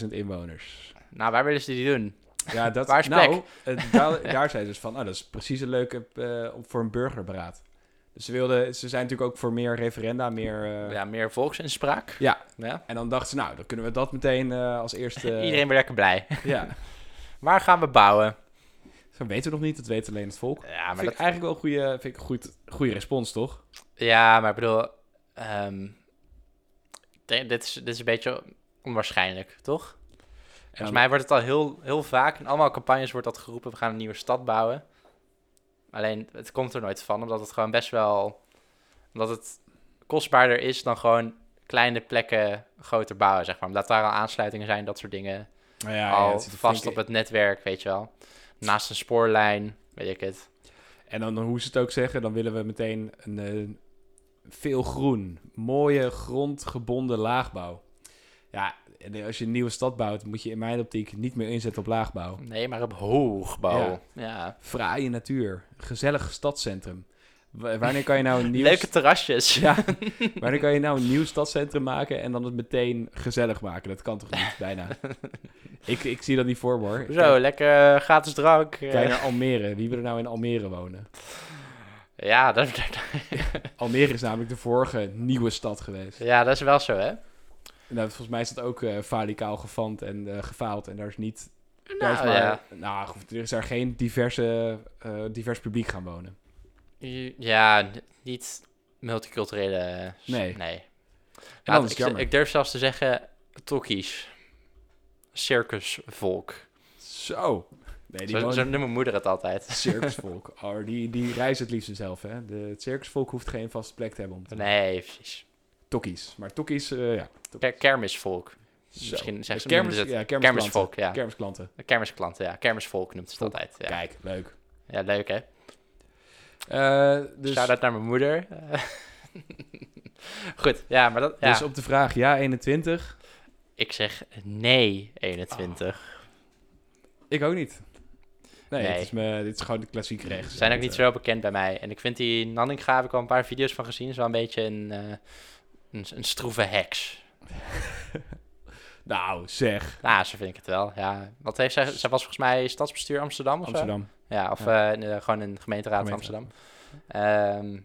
S2: 150.000 inwoners.
S1: Nou, waar willen ze die doen?
S2: Ja, dat...
S1: Waar is
S2: nou, eh, daar, daar zijn ze dus van, nou, dat is precies een leuke eh, voor een burgerberaad. Dus ze, wilden, ze zijn natuurlijk ook voor meer referenda, meer... eh,
S1: Ja, meer volksinspraak.
S2: Ja.
S1: ja.
S2: En dan dachten ze, nou, dan kunnen we dat meteen eh, als eerste...
S1: Iedereen weer lekker blij.
S2: Ja.
S1: Waar gaan we bouwen?
S2: Dat weten we nog niet, dat weet alleen het volk.
S1: Ja, maar
S2: vind ik eigenlijk wel een goede, vind ik een goed, goede respons, toch?
S1: Ja, maar ik bedoel, ehm, ik denk- dit, is, dit is een beetje onwaarschijnlijk, toch? Volgens mij wordt het al heel, heel vaak, in allemaal campagnes wordt dat geroepen, we gaan een nieuwe stad bouwen. Alleen, het komt er nooit van, omdat het gewoon best wel, omdat het kostbaarder is dan gewoon kleine plekken groter bouwen, zeg maar. Omdat daar al aansluitingen zijn, dat soort dingen.
S2: Nou ja, ja,
S1: al
S2: het zit er
S1: vast
S2: flink
S1: op het netwerk, weet je wel. Naast een spoorlijn, weet ik het.
S2: in. En dan hoe ze het ook zeggen, dan willen we meteen een, eh, veel groen, mooie grondgebonden laagbouw. Ja, en als je een nieuwe stad bouwt, moet je in mijn optiek niet meer inzetten op laagbouw.
S1: Nee, maar op hoogbouw. Ja.
S2: Fraaie natuur, gezellig stadscentrum. Wa- Wanneer kan je nou een nieuw...
S1: Leuke terrasjes.
S2: Ja, wanneer kan je nou een nieuw stadscentrum maken en dan het meteen gezellig maken? Dat kan toch niet, bijna. Ik, ik zie dat niet voor me, hoor.
S1: Zo,
S2: Kijk-
S1: lekker eh, gratis drank. eh.
S2: Kijk naar Almere. Wie wil er nou in Almere wonen?
S1: Ja dat, dat-
S2: Almere is namelijk de vorige nieuwe stad geweest.
S1: ja, dat is wel zo, hè?
S2: En dat, volgens mij is dat ook eh falicaal gefaald en eh, gefaald. En daar is niet... daar is
S1: Nou,
S2: maar,
S1: ja.
S2: nou, goed, er is daar geen diverse, eh, divers publiek gaan wonen.
S1: Ja, n- niet multiculturele... eh, s-
S2: Nee.
S1: nee.
S2: En
S1: Laat-
S2: dat is
S1: ik,
S2: jammer.
S1: ik durf zelfs te zeggen, tokkies. Circusvolk.
S2: Zo. Nee,
S1: Zo,
S2: die
S1: zo
S2: wonen...
S1: noemt mijn moeder het altijd.
S2: Circusvolk. Oh, die, die reizen het liefst zelf, hè. De, het circusvolk hoeft geen vaste plek te hebben om te...
S1: Nee, precies.
S2: Tokkies. Maar tokkies, eh, ja.
S1: Ker- kermisvolk.
S2: Zo.
S1: Misschien zeggen ze
S2: Kermis-
S1: minder
S2: ja, kermisklanten.
S1: Kermisvolk, ja.
S2: Kermisklanten.
S1: Kermisklanten, ja. Kermisvolk noemt ze het
S2: Volk.
S1: altijd. Ja,
S2: Kijk, leuk.
S1: ja leuk, hè?
S2: Eh, dus...
S1: Shout-out naar mijn moeder. Goed, ja, maar dat... Ja.
S2: Dus op de vraag ja 21,
S1: Ik zeg nee, 21.
S2: Oh, ik ook niet. Nee,
S1: Nee.
S2: Het is me, dit is gewoon de klassiek rechts.
S1: Ze zijn ook
S2: Dat,
S1: niet
S2: eh,
S1: zo bekend bij mij. En ik vind die Nanninga, heb ik al een paar video's van gezien, is wel een beetje een, eh, een, een stroeve heks.
S2: Nou, zeg.
S1: Nou, zo vind ik het wel, ja. Wat heeft zij, zij was volgens mij stadsbestuur Amsterdam of zo?
S2: Amsterdam.
S1: Ja, of eh, eh, gewoon een gemeenteraad van
S2: Gemeenteraad.
S1: Amsterdam. Ehm,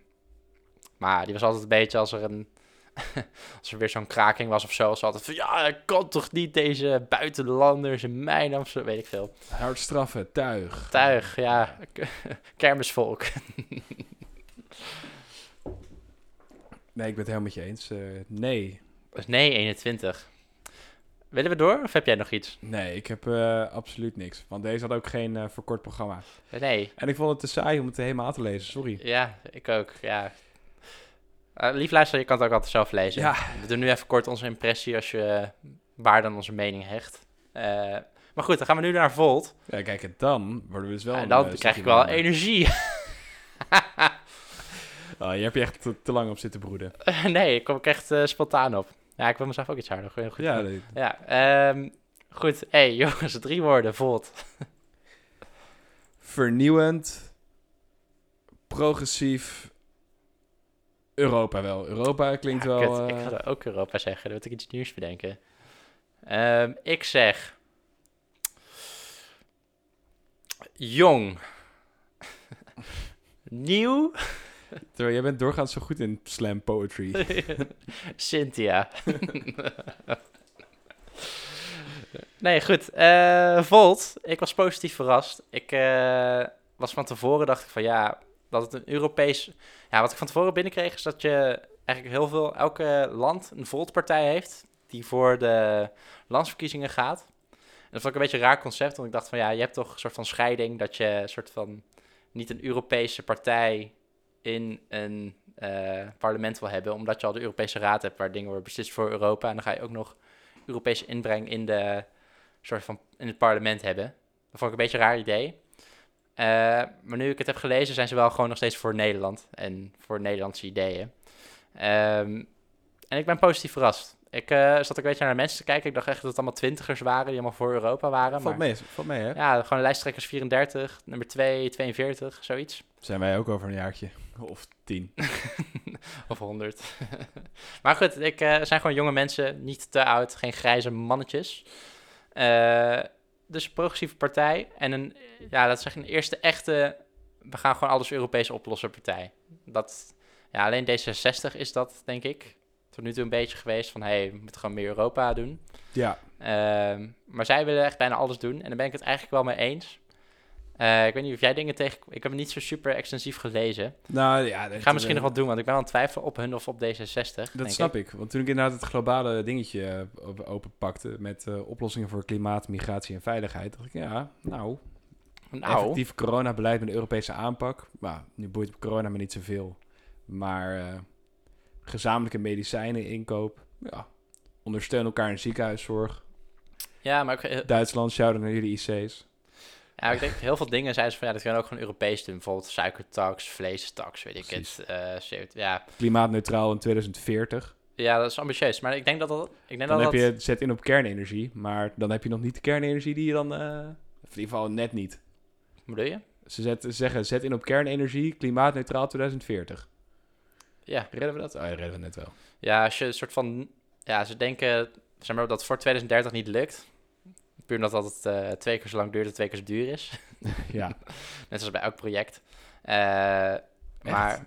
S1: maar die was altijd een beetje als er een... Als er weer zo'n kraking was of zo, was ze altijd van... Ja, dat kan toch niet, deze buitenlanders in mijn Amsterdam... Weet ik veel.
S2: Hard straffen, tuig.
S1: Tuig, ja. Kermisvolk.
S2: Nee, ik ben het helemaal met je eens. Eh, nee.
S1: Dus nee, 21. Willen we door of heb jij nog iets?
S2: Nee, ik heb eh, absoluut niks. Want deze had ook geen eh, verkort programma.
S1: Nee.
S2: En ik vond het te saai om het helemaal te lezen, sorry.
S1: Ja, ik ook. Ja. Eh, lief luister, je kan het ook altijd zelf lezen.
S2: Ja.
S1: We doen nu even kort onze impressie als je waar dan onze mening hecht. Eh, maar goed, dan gaan we nu naar Volt.
S2: Ja, kijk, en dan worden we dus wel...
S1: en
S2: een,
S1: dan
S2: eh,
S1: krijg
S2: stukje
S1: ik wel
S2: minder.
S1: energie.
S2: Oh, je hebt je echt te, te lang op zitten broeden.
S1: nee, ik kom ik echt eh, spontaan op. Ja, ik wil mezelf ook iets harder. Goed, goed.
S2: Ja, nee.
S1: ja ehm, goed. hey, jongens, drie woorden. Volt.
S2: vernieuwend, progressief. Europa wel. Europa klinkt
S1: Ja,
S2: wel.
S1: kut.
S2: eh,
S1: Ik ga er ook Europa zeggen. Dan moet ik iets nieuws bedenken. Ehm, ik zeg... Jong. Nieuw.
S2: terwijl jij bent doorgaans zo goed in slam poetry.
S1: Cynthia. nee, goed. Eh, Volt, ik was positief verrast. Ik eh, was van tevoren, dacht ik van ja, dat het een Europees... Ja, wat ik van tevoren binnenkreeg is dat je eigenlijk heel veel... Elke land een Volt-partij heeft die voor de landsverkiezingen gaat. En dat vond ik een beetje een raar concept, want ik dacht van ja, je hebt toch een soort van scheiding dat je een soort van niet een Europese partij in een eh, parlement wil hebben, omdat je al de Europese Raad hebt waar dingen worden beslist voor Europa. En dan ga je ook nog Europese inbreng in, de, soort van, in het parlement hebben. Dat vond ik een beetje een raar idee. Eh, maar nu ik het heb gelezen, zijn ze wel gewoon nog steeds voor Nederland en voor Nederlandse ideeën. Ehm, en ik ben positief verrast. Ik eh, zat ook een beetje naar de mensen te kijken. Ik dacht echt dat het allemaal twintigers waren die allemaal voor Europa waren.
S2: Valt
S1: maar
S2: mee, valt mee, hè?
S1: ja, gewoon lijsttrekkers 34, nummer 2, 42, zoiets.
S2: Zijn wij ook over een jaartje. Of tien.
S1: Of 100. maar goed, ik eh, zijn gewoon jonge mensen, niet te oud, geen grijze mannetjes. Eh, dus een progressieve partij en een, ja, dat is echt een eerste echte, we gaan gewoon alles Europees oplossen partij. Dat, ja, alleen D66 is dat, denk ik, tot nu toe een beetje geweest van, hé, hey, we moeten gewoon meer Europa doen.
S2: Ja.
S1: Ehm, maar zij willen echt bijna alles doen. En daar ben ik het eigenlijk wel mee eens. Eh, ik weet niet of jij dingen tegen... Ik heb het niet zo super extensief gelezen.
S2: Nou ja.
S1: Ik ga misschien nog wat doen, want ik ben aan het twijfelen op hun of op D66.
S2: Dat snap ik. Want toen ik inderdaad het globale dingetje eh, op- openpakte met eh, oplossingen voor klimaat, migratie en veiligheid, dacht ik, ja, nou,
S1: Nou,
S2: effectief coronabeleid met een Europese aanpak. Maar nu boeit corona me niet zoveel. Maar eh, gezamenlijke medicijnen inkoop, ja. Ondersteun elkaar in ziekenhuiszorg.
S1: ja, maar ook, eh,
S2: Duitsland, shout-out naar jullie IC's.
S1: ja, ik denk heel veel dingen zijn ze van... Ja, dat kunnen we ook gewoon Europees doen. Bijvoorbeeld suikertax, vleestaks, weet ik het. eh, CO2 ja.
S2: Klimaatneutraal in 2040.
S1: ja, dat is ambitieus. Maar ik denk dat dat... Ik denk
S2: Dan
S1: dat
S2: heb
S1: dat,
S2: je, zet in op kernenergie, maar dan heb je nog niet de kernenergie die je dan... eh, of in ieder geval net niet.
S1: Hoe bedoel je?
S2: Ze zet- ze zeggen, zet in op kernenergie, klimaatneutraal 2040.
S1: Ja.
S2: Redden we dat? Oh ja, redden we net wel.
S1: Ja, als je een soort van... Ja, ze denken zeg maar, dat het voor 2030 niet lukt. Puur omdat dat het eh, twee keer zo lang duurt en twee keer zo duur is.
S2: Ja,
S1: Net zoals bij elk project. Eh, maar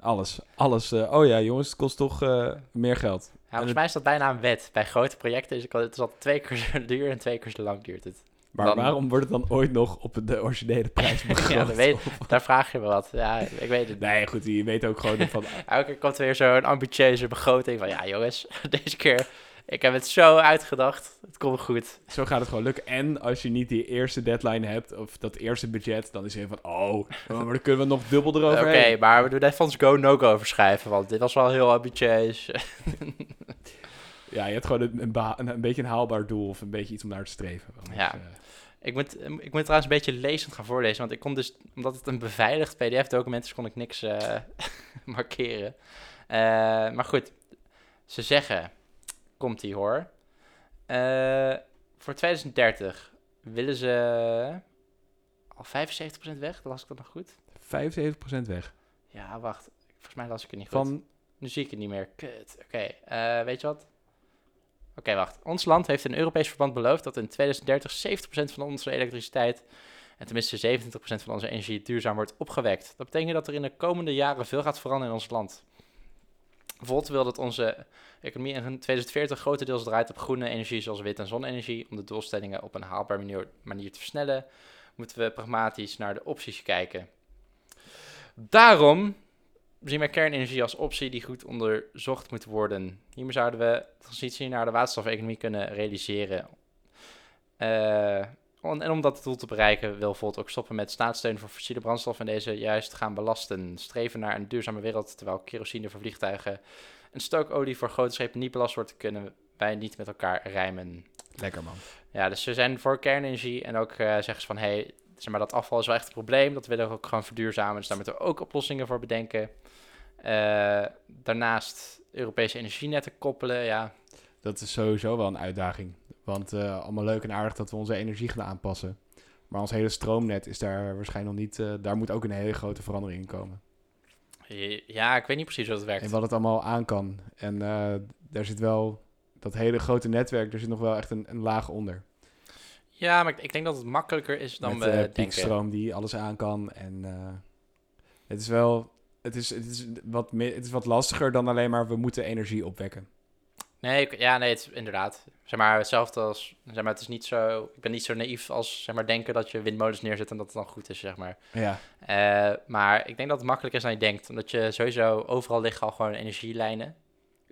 S2: alles. Alles. eh, oh ja, jongens, het kost toch eh, meer geld.
S1: ja, volgens
S2: het-
S1: mij is dat bijna een wet. Bij grote projecten is het al- het is al twee keer zo duur en twee keer zo lang duurt het.
S2: Maar
S1: Dan-
S2: waarom wordt het dan ooit nog op de originele prijs begroot?
S1: Ja, dat weet- Daar vraag je me wat. Ja, ik weet het.
S2: Nee, goed, je weet ook gewoon van...
S1: Elke keer komt er weer zo'n ambitieuze begroting van... Ja, jongens, deze keer... Ik heb het zo uitgedacht. Het komt goed.
S2: Zo gaat het gewoon lukken. En als je niet die eerste deadline hebt, of dat eerste budget, dan is het van, oh, maar dan kunnen we nog dubbel
S1: Oké,
S2: erover
S1: maar we doen even ons go-no-go verschrijven. Want dit was wel heel ambitieus.
S2: Ja, je hebt gewoon een, een, ba- een- een beetje een haalbaar doel, of een beetje iets om naar te streven. Anders,
S1: Ja.
S2: eh,
S1: Ik moet, eh, ik moet trouwens een beetje lezend gaan voorlezen, want ik kon dus, omdat het een beveiligd PDF-document is, kon ik niks eh, markeren. Eh, maar goed, ze zeggen, komt ie hoor. Eh, voor 2030 willen ze al 75% weg, las ik dat nog goed?
S2: 75% weg.
S1: Ja, wacht, volgens mij las ik het niet goed.
S2: Van
S1: Nu zie ik het niet meer. Kut. Oké, eh, weet je wat? Oké, wacht. Ons land heeft in Europees verband beloofd dat in 2030 70% van onze elektriciteit en tenminste 27% van onze energie duurzaam wordt opgewekt. Dat betekent dat er in de komende jaren veel gaat veranderen in ons land. Volt wil dat onze economie in 2040 grotendeels draait op groene energie zoals wind- en zonne-energie. Om de doelstellingen op een haalbare manier- manier te versnellen, moeten we pragmatisch naar de opties kijken. Daarom zien wij kernenergie als optie die goed onderzocht moet worden. Hiermee zouden we de transitie naar de waterstof-economie kunnen realiseren. Eh, on- en om dat doel te bereiken wil Volt ook stoppen met staatssteun voor fossiele brandstof en deze juist gaan belasten. Streven naar een duurzame wereld, terwijl kerosine voor vliegtuigen en stookolie voor grote schepen niet belast wordt, kunnen wij niet met elkaar rijmen.
S2: Lekker man.
S1: Ja, dus ze zijn voor kernenergie en ook eh, zeggen ze van, hé, hey, zeg maar, dat afval is wel echt een probleem. Dat willen we ook gewoon verduurzamen. Dus daar moeten we ook oplossingen voor bedenken. Eh, daarnaast Europese energienetten koppelen, ja.
S2: Dat is sowieso wel een uitdaging. Want eh, allemaal leuk en aardig dat we onze energie gaan aanpassen. Maar ons hele stroomnet is daar waarschijnlijk nog niet... eh, daar moet ook een hele grote verandering in komen.
S1: Ja, ik weet niet precies hoe dat werkt.
S2: En wat het allemaal aan kan. En eh, daar zit wel... Dat hele grote netwerk, daar zit nog wel echt een, een laag onder.
S1: Ja, maar ik- ik denk dat het makkelijker is dan
S2: Met
S1: we
S2: eh,
S1: denken.
S2: piekstroom die alles aan kan. En eh, het is wel... Het is, het, is wat meer, het is wat lastiger dan alleen maar we moeten energie opwekken.
S1: Nee, ik- ja, nee, het is inderdaad. Zeg maar, hetzelfde als, zeg maar, het is niet zo, ik ben niet zo naïef als, zeg maar, denken dat je windmolens neerzet en dat het dan goed is, zeg maar.
S2: Ja,
S1: Eh, maar ik denk dat het makkelijker is dan je denkt. Omdat je sowieso overal liggen al gewoon energielijnen.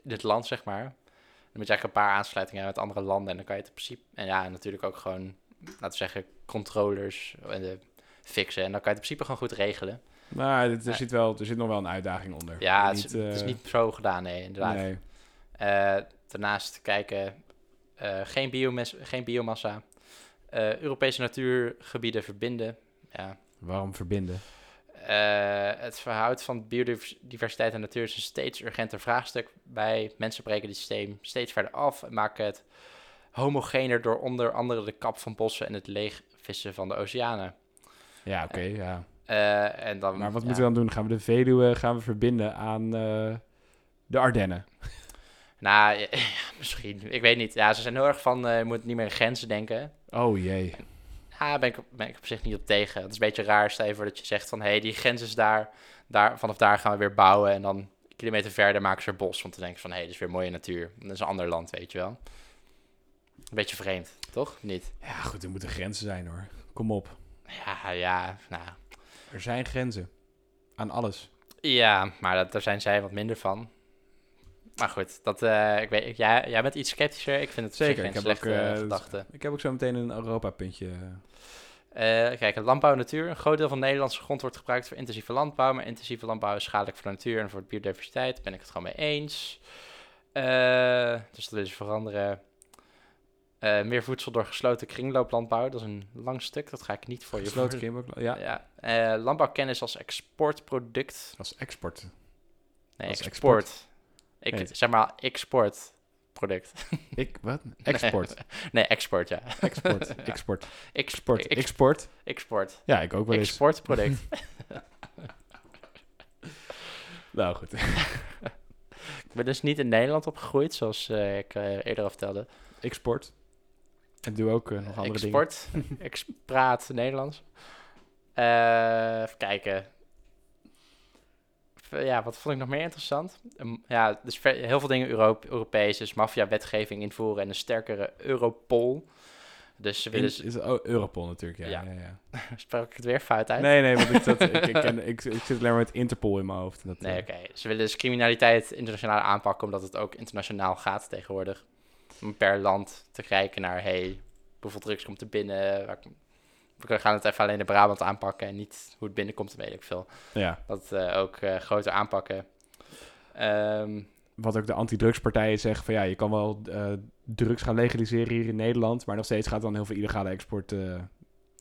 S1: In dit land, zeg maar. Dan moet je eigenlijk een paar aansluitingen hebben met andere landen. En dan kan je het in principe... En ja, en natuurlijk ook gewoon, laten we zeggen, controllers en de fixen. En dan kan je het in principe gewoon goed regelen.
S2: maar dit- er,
S1: Nee.
S2: zit wel, er zit nog wel een uitdaging onder.
S1: Ja, het, is- het is
S2: eh,
S1: niet zo gedaan, nee, inderdaad.
S2: nee.
S1: Eh, daarnaast kijken, eh, geen, biomes- geen biomassa. Eh, Europese natuurgebieden verbinden. Ja,
S2: Waarom verbinden?
S1: Eh, eh, het verhoud van biodiversiteit en natuur is een steeds urgenter vraagstuk. Bij mensen breken dit systeem steeds verder af en maken het homogener door onder andere de kap van bossen en het leegvissen van de oceanen.
S2: Ja, oké, ja.
S1: Eh, en dan,
S2: Maar wat
S1: ja.
S2: moeten we dan doen? Gaan we de Veluwe gaan we verbinden aan eh, de Ardennen?
S1: Nou, ja, misschien. Ik weet niet. Ja, ze zijn heel erg van, eh, je moet niet meer in grenzen denken.
S2: Oh jee.
S1: Daar ben ik, ben ik op zich niet op tegen. Het is een beetje raar, stel je voor dat je zegt van... hé, hey, die grens is daar, daar, vanaf daar gaan we weer bouwen... en dan een kilometer verder maken ze er bos. Want dan denk je van, hé, hey, dit is weer mooie natuur. Dat is een ander land, weet je wel. Een beetje vreemd, toch? Niet?
S2: Ja, goed, er moeten grenzen zijn hoor. Kom op.
S1: Ja, ja, nou...
S2: Er zijn grenzen. Aan alles.
S1: Ja, maar dat, daar zijn zij wat minder van. Maar goed, dat, eh, ik weet, jij, jij bent iets sceptischer. Ik vind het
S2: Zeker,
S1: zeker
S2: ik
S1: geen
S2: heb
S1: slechte
S2: ook, eh,
S1: eh, gedachte.
S2: Ik heb ook zo meteen een Europa-puntje.
S1: Eh, kijk, landbouw en natuur. Een groot deel van de Nederlandse grond wordt gebruikt voor intensieve landbouw. Maar intensieve landbouw is schadelijk voor de natuur en voor de biodiversiteit. Daar ben ik het gewoon mee eens. Eh, dus dat willen ze veranderen. Eh, meer voedsel door gesloten kringlooplandbouw. Dat is een lang stuk, dat ga ik niet voor je
S2: Gesloten
S1: voor-
S2: Kimberk- Ja,
S1: Ja. Eh, landbouwkennis als exportproduct.
S2: als export.
S1: Nee,
S2: Als
S1: export. Ik
S2: Nee.
S1: zeg maar exportproduct.
S2: Ik, wat? Export.
S1: Nee, export, ja.
S2: Export. Export.
S1: Export.
S2: Export. Export.
S1: Export.
S2: Ja, ik ook wel eens.
S1: Exportproduct.
S2: Nou goed.
S1: Ik ben dus niet in Nederland opgegroeid, zoals eh, ik eh, eerder al vertelde.
S2: Export. En doe ook eh, nog andere dingen.
S1: Export. Ik praat Nederlands. Eh, even kijken. V- Ja, wat vond ik nog meer interessant? Ehm, Ja, dus ver- heel veel dingen Euro- Europees. Dus maffia-wetgeving invoeren en een sterkere Europol. Dus ze
S2: In-
S1: willen...
S2: Is, oh, Europol natuurlijk, ja.
S1: Ja.
S2: ja. ja, ja.
S1: Sprak ik het weer fout uit?
S2: Nee, nee, want ik, dat, ik, ik, ken- ik, ik zit alleen maar met Interpol in mijn hoofd. en Dat,
S1: Nee,
S2: eh,
S1: oké. Ze willen dus criminaliteit internationaal aanpakken, omdat het ook internationaal gaat tegenwoordig. Om per land te kijken naar, hey, hoeveel drugs komt er binnen? Waar, we gaan het even alleen de Brabant aanpakken en niet hoe het binnenkomt, weet ik veel.
S2: Ja,
S1: Dat eh, ook eh, groter aanpakken. Ehm,
S2: wat ook de antidrugspartijen zeggen van ja, je kan wel eh, drugs gaan legaliseren hier in Nederland, maar nog steeds gaat dan heel veel illegale export, eh,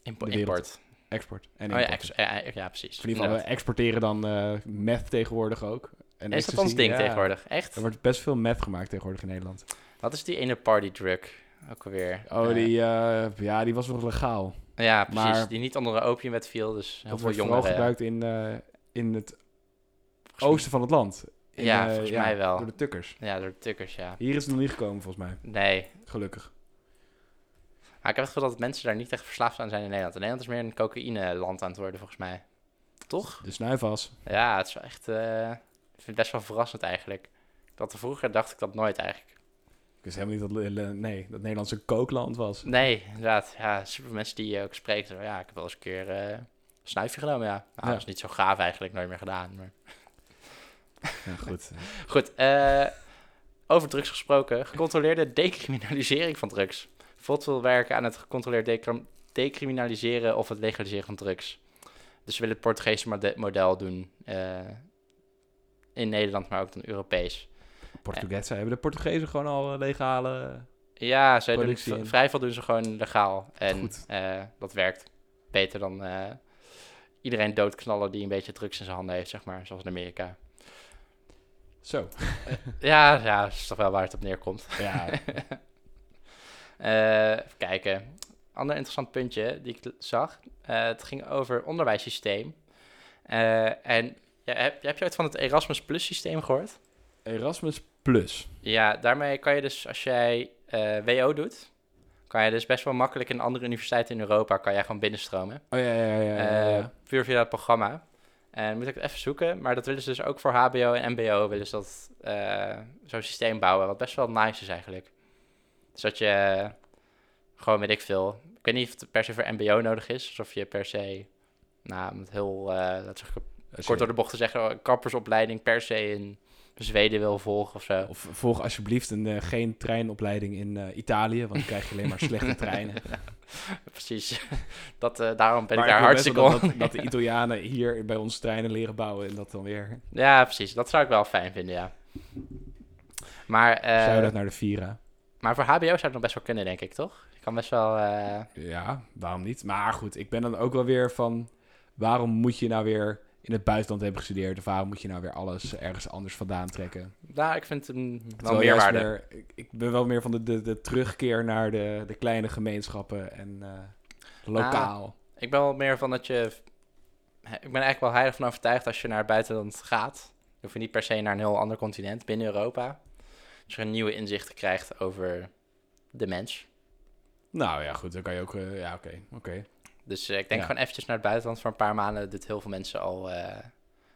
S1: impo-
S2: De wereld
S1: import.
S2: export en
S1: Oh ja,
S2: import.
S1: ex- ja, ja, precies.
S2: In ieder geval, we
S1: Inderdaad.
S2: exporteren dan eh meth tegenwoordig ook. En
S1: Is dat
S2: ecstasy,
S1: ons ding
S2: ja.
S1: tegenwoordig? Echt?
S2: Er wordt best veel meth gemaakt tegenwoordig in Nederland.
S1: Wat is die ene party drug? Ook alweer.
S2: Oh,
S1: Eh,
S2: die, eh, ja, die was nog legaal.
S1: Ja, precies.
S2: maar-
S1: die niet onder de opiumwet viel, dus heel veel
S2: Dat wordt vooral
S1: jongeren.
S2: gebruikt in, eh, in het
S1: volgens mij-
S2: oosten van het land. In,
S1: Ja,
S2: eh,
S1: volgens mij wel.
S2: Door de tukkers.
S1: Ja, door de tukkers, ja.
S2: Hier is het nog niet gekomen volgens mij,
S1: Nee,
S2: gelukkig.
S1: Maar ik heb het gevoel dat mensen daar niet echt verslaafd aan zijn in Nederland. En Nederland is meer een cocaïne-land aan het worden, volgens mij. Toch?
S2: De snuifas.
S1: Ja, het is wel echt... eh, ik vind het best wel verrassend eigenlijk. Dat vroeger dacht ik dat nooit eigenlijk.
S2: Ik wist helemaal niet dat, Le- Le- nee, dat Nederland een kookland was.
S1: Nee, inderdaad. Ja, super mensen die je ook spreekt. zo, Ja, ik heb wel eens een keer eh, een snuifje genomen, ja. Nou,
S2: Ja.
S1: dat is niet zo gaaf eigenlijk, nooit meer gedaan. Maar...
S2: Ja, goed.
S1: Goed, eh, over drugs gesproken. Gecontroleerde decriminalisering van drugs. Vod wil werken aan het gecontroleerd decrim- decriminaliseren of het legaliseren van drugs. Dus ze willen het Portugese mode- model doen. eh, in Nederland, maar ook dan Europees.
S2: Portugezen hebben de Portugezen gewoon al eh, legale...
S1: Ja, zij doen,
S2: Productie
S1: v-
S2: in.
S1: vrij veel doen ze gewoon legaal. En
S2: Goed.
S1: eh, dat werkt beter dan eh, iedereen doodknallen die een beetje drugs in zijn handen heeft, zeg maar. Zoals in Amerika.
S2: Zo.
S1: Ja, ja, dat is toch wel waar het op neerkomt.
S2: Ja,
S1: Eh, even kijken. Ander interessant puntje die ik l- zag. eh, het ging over onderwijssysteem. Eh, en ja, heb, heb je ooit van het Erasmus Plus systeem gehoord?
S2: Erasmus Plus.
S1: Ja, daarmee kan je dus als jij eh, WO doet, kan je dus best wel makkelijk in andere universiteiten in Europa kan jij gewoon binnenstromen.
S2: Oh ja, ja, ja. ja, ja,
S1: Eh,
S2: ja.
S1: puur via het programma. En moet ik het even zoeken, maar dat willen ze dus ook voor HBO en MBO willen ze dat eh, zo'n systeem bouwen, wat best wel nice is eigenlijk. Dus dat je eh, gewoon, weet ik veel, ik weet niet of het per se voor MBO nodig is, of je per se, nou, om het heel, eh dat zeg ik
S2: Als je-
S1: kort door de bocht te zeggen, een kappersopleiding per se in Zweden wil volgen of zo.
S2: Of volg alsjeblieft een, eh, geen treinopleiding in eh, Italië, want dan krijg je alleen maar slechte treinen.
S1: Precies, dat, eh, daarom ben
S2: Maar
S1: ik daar
S2: wil best
S1: hartstikke
S2: wel
S1: on-
S2: dat, dat, dat de Italianen hier bij ons treinen leren bouwen en dat dan weer.
S1: Ja, precies, dat zou ik wel fijn vinden, ja. Maar, eh,
S2: Shout-out naar de Vira.
S1: Maar voor HBO zou het nog best wel kunnen, denk ik, toch? Je kan best wel... eh,
S2: Ja, waarom niet? Maar goed, ik ben dan ook wel weer van, waarom moet je nou weer in het buitenland hebben gestudeerd. Of waarom moet je nou weer alles ergens anders vandaan trekken?
S1: Nou, ik vind het een wel
S2: Terwijl juist
S1: meerwaarde.
S2: meer- ik, ik ben wel meer van de, de, de terugkeer naar de, de kleine gemeenschappen en
S1: Ah.
S2: eh, lokaal.
S1: Ik ben wel meer van dat je... Ik ben eigenlijk wel heilig van overtuigd als je naar het buitenland gaat. Dan hoef je niet per se naar een heel ander continent binnen Europa. Dat je een nieuwe inzichten krijgt over de mens.
S2: Nou ja, goed, dan kan je ook... eh, ja, oké, oké.
S1: Dus eh, ik denk
S2: Ja.
S1: gewoon eventjes naar het buitenland voor een paar maanden. Doet heel veel mensen al eh,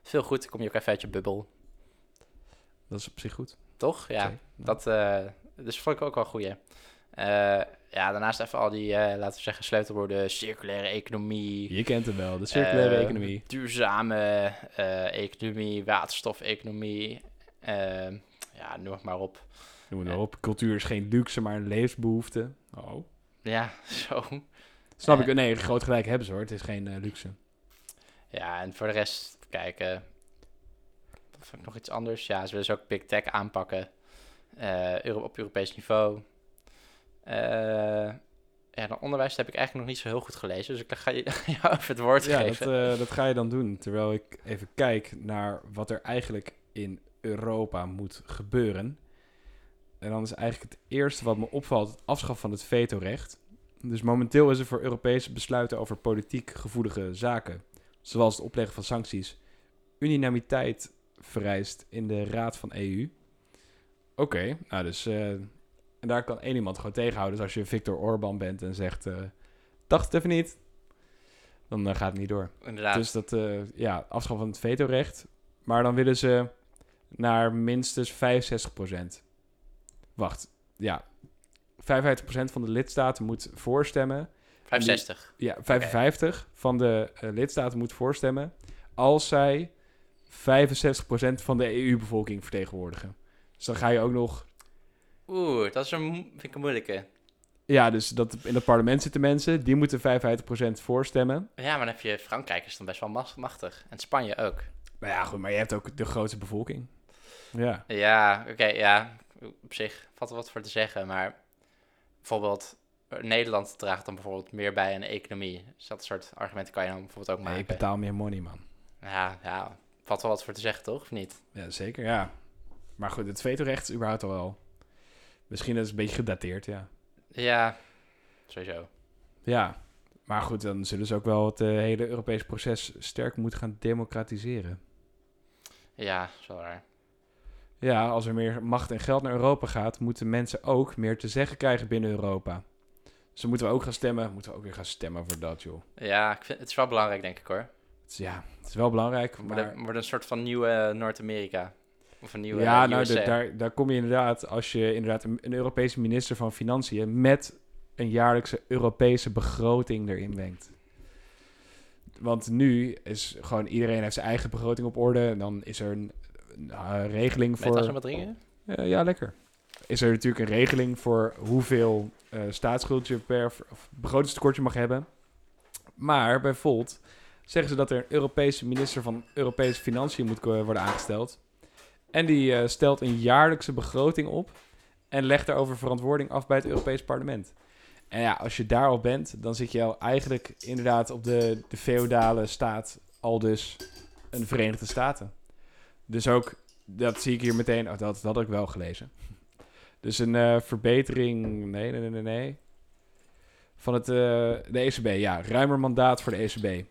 S1: veel goed. Dan kom je ook even uit je bubbel,
S2: Dat is op zich goed.
S1: toch? Ja,
S2: Oké.
S1: dat eh, dus vond ik ook wel een goeie. Eh, ja, daarnaast even al die, eh, laten we zeggen, sleutelwoorden. Circulaire economie,
S2: Je kent hem wel, de circulaire
S1: Eh,
S2: economie.
S1: duurzame eh, economie, waterstofeconomie. eh, ja, noem het maar op.
S2: Noem
S1: eh.
S2: het maar op. Cultuur is geen luxe, maar een levensbehoefte. Oh.
S1: Ja, zo.
S2: Snap
S1: Eh.
S2: ik. Nee, groot gelijk hebben ze hoor. Het is geen eh, luxe.
S1: Ja, en voor de rest, kijken. Of ik nog iets anders? Ja, ze willen dus ook Big Tech aanpakken. eh, Euro op Europees niveau. Eh, ja, dan onderwijs heb ik eigenlijk nog niet zo heel goed gelezen. Dus ik ga je- jou even het woord
S2: Ja, dat,
S1: geven.
S2: eh, dat ga je dan doen. Terwijl ik even kijk naar wat er eigenlijk in Europa moet gebeuren. En dan is eigenlijk het eerste wat me opvalt het afschaffen van het vetorecht. Dus momenteel is er voor Europese besluiten over politiek gevoelige zaken, zoals het opleggen van sancties, unanimiteit vereist in de Raad van EU. Oké, nou dus. eh, en daar kan één iemand gewoon tegenhouden. Dus als je Viktor Orban bent en zegt. eh dacht het even niet. Dan eh, gaat het niet door.
S1: Inderdaad.
S2: Dus dat, eh, ja, afschaffen van het vetorecht. Maar dan willen ze naar minstens 65%. Wacht, ja. 55% van de lidstaten moet voorstemmen.
S1: 65.
S2: Ja, 55 van de eh, lidstaten moet voorstemmen als zij 65% van de EU-bevolking vertegenwoordigen. Dus dan ga je ook nog...
S1: Oeh, dat is een, mo- vind ik een moeilijke.
S2: Ja, dus dat, in het parlement zitten mensen, die moeten 55% voorstemmen.
S1: Ja, maar dan heb je Frankrijk is dan best wel mas- machtig. En Spanje ook.
S2: Maar ja, goed, maar je hebt ook de grootste bevolking. Ja.
S1: Ja, oké, ja. Op zich valt er wat voor te zeggen, maar bijvoorbeeld eh, Nederland draagt dan bijvoorbeeld meer bij aan de economie. Dus dat soort argumenten kan je dan bijvoorbeeld ook
S2: Nee, ik
S1: maken.
S2: betaal meer money, man.
S1: Ja, ja, valt wel wat voor te zeggen, toch? Of niet?
S2: Ja, zeker, ja. Maar goed, het vetorecht is überhaupt al wel... Misschien is het een beetje gedateerd, ja.
S1: Ja, sowieso.
S2: Ja, maar goed, dan zullen ze ook wel het eh, hele Europese proces sterk moeten gaan democratiseren.
S1: Ja, is wel waar.
S2: Ja, als er meer macht en geld naar Europa gaat, moeten mensen ook meer te zeggen krijgen binnen Europa. Dus dan moeten we ook gaan stemmen. Moeten we ook weer gaan stemmen voor dat, joh.
S1: Ja, ik vind, het is wel belangrijk, denk ik hoor.
S2: Dus ja, het is wel belangrijk,
S1: Maar...
S2: maar...
S1: Wordt wordt een soort van nieuwe Noord-Amerika. Of een nieuwe
S2: ja,
S1: eh,
S2: nou,
S1: USA.
S2: da- daar, daar kom je inderdaad als je inderdaad een, een Europese minister van Financiën met een jaarlijkse Europese begroting erin wenkt. Want nu is gewoon iedereen heeft zijn eigen begroting op orde en dan is er een, een, eh,
S1: Met
S2: regeling
S1: als we
S2: voor.
S1: maar dringen?
S2: Eh, ja, lekker. Is er natuurlijk een regeling voor hoeveel eh staatsschuldje per of begrotingstekort je mag hebben. Maar bijvoorbeeld zeggen ze dat er een Europese minister van Europese Financiën moet ko- worden aangesteld. En die eh, stelt een jaarlijkse begroting op en legt daarover verantwoording af bij het Europees Parlement. En ja, als je daar al bent, dan zit je al eigenlijk inderdaad op de, de feodale staat, al dus een Verenigde Staten. Dus ook, dat zie ik hier meteen, oh, dat, dat had ik wel gelezen. Dus een eh, verbetering, nee, nee, nee, nee, nee. Van het, eh, de ECB, ja, ruimer mandaat voor de ECB.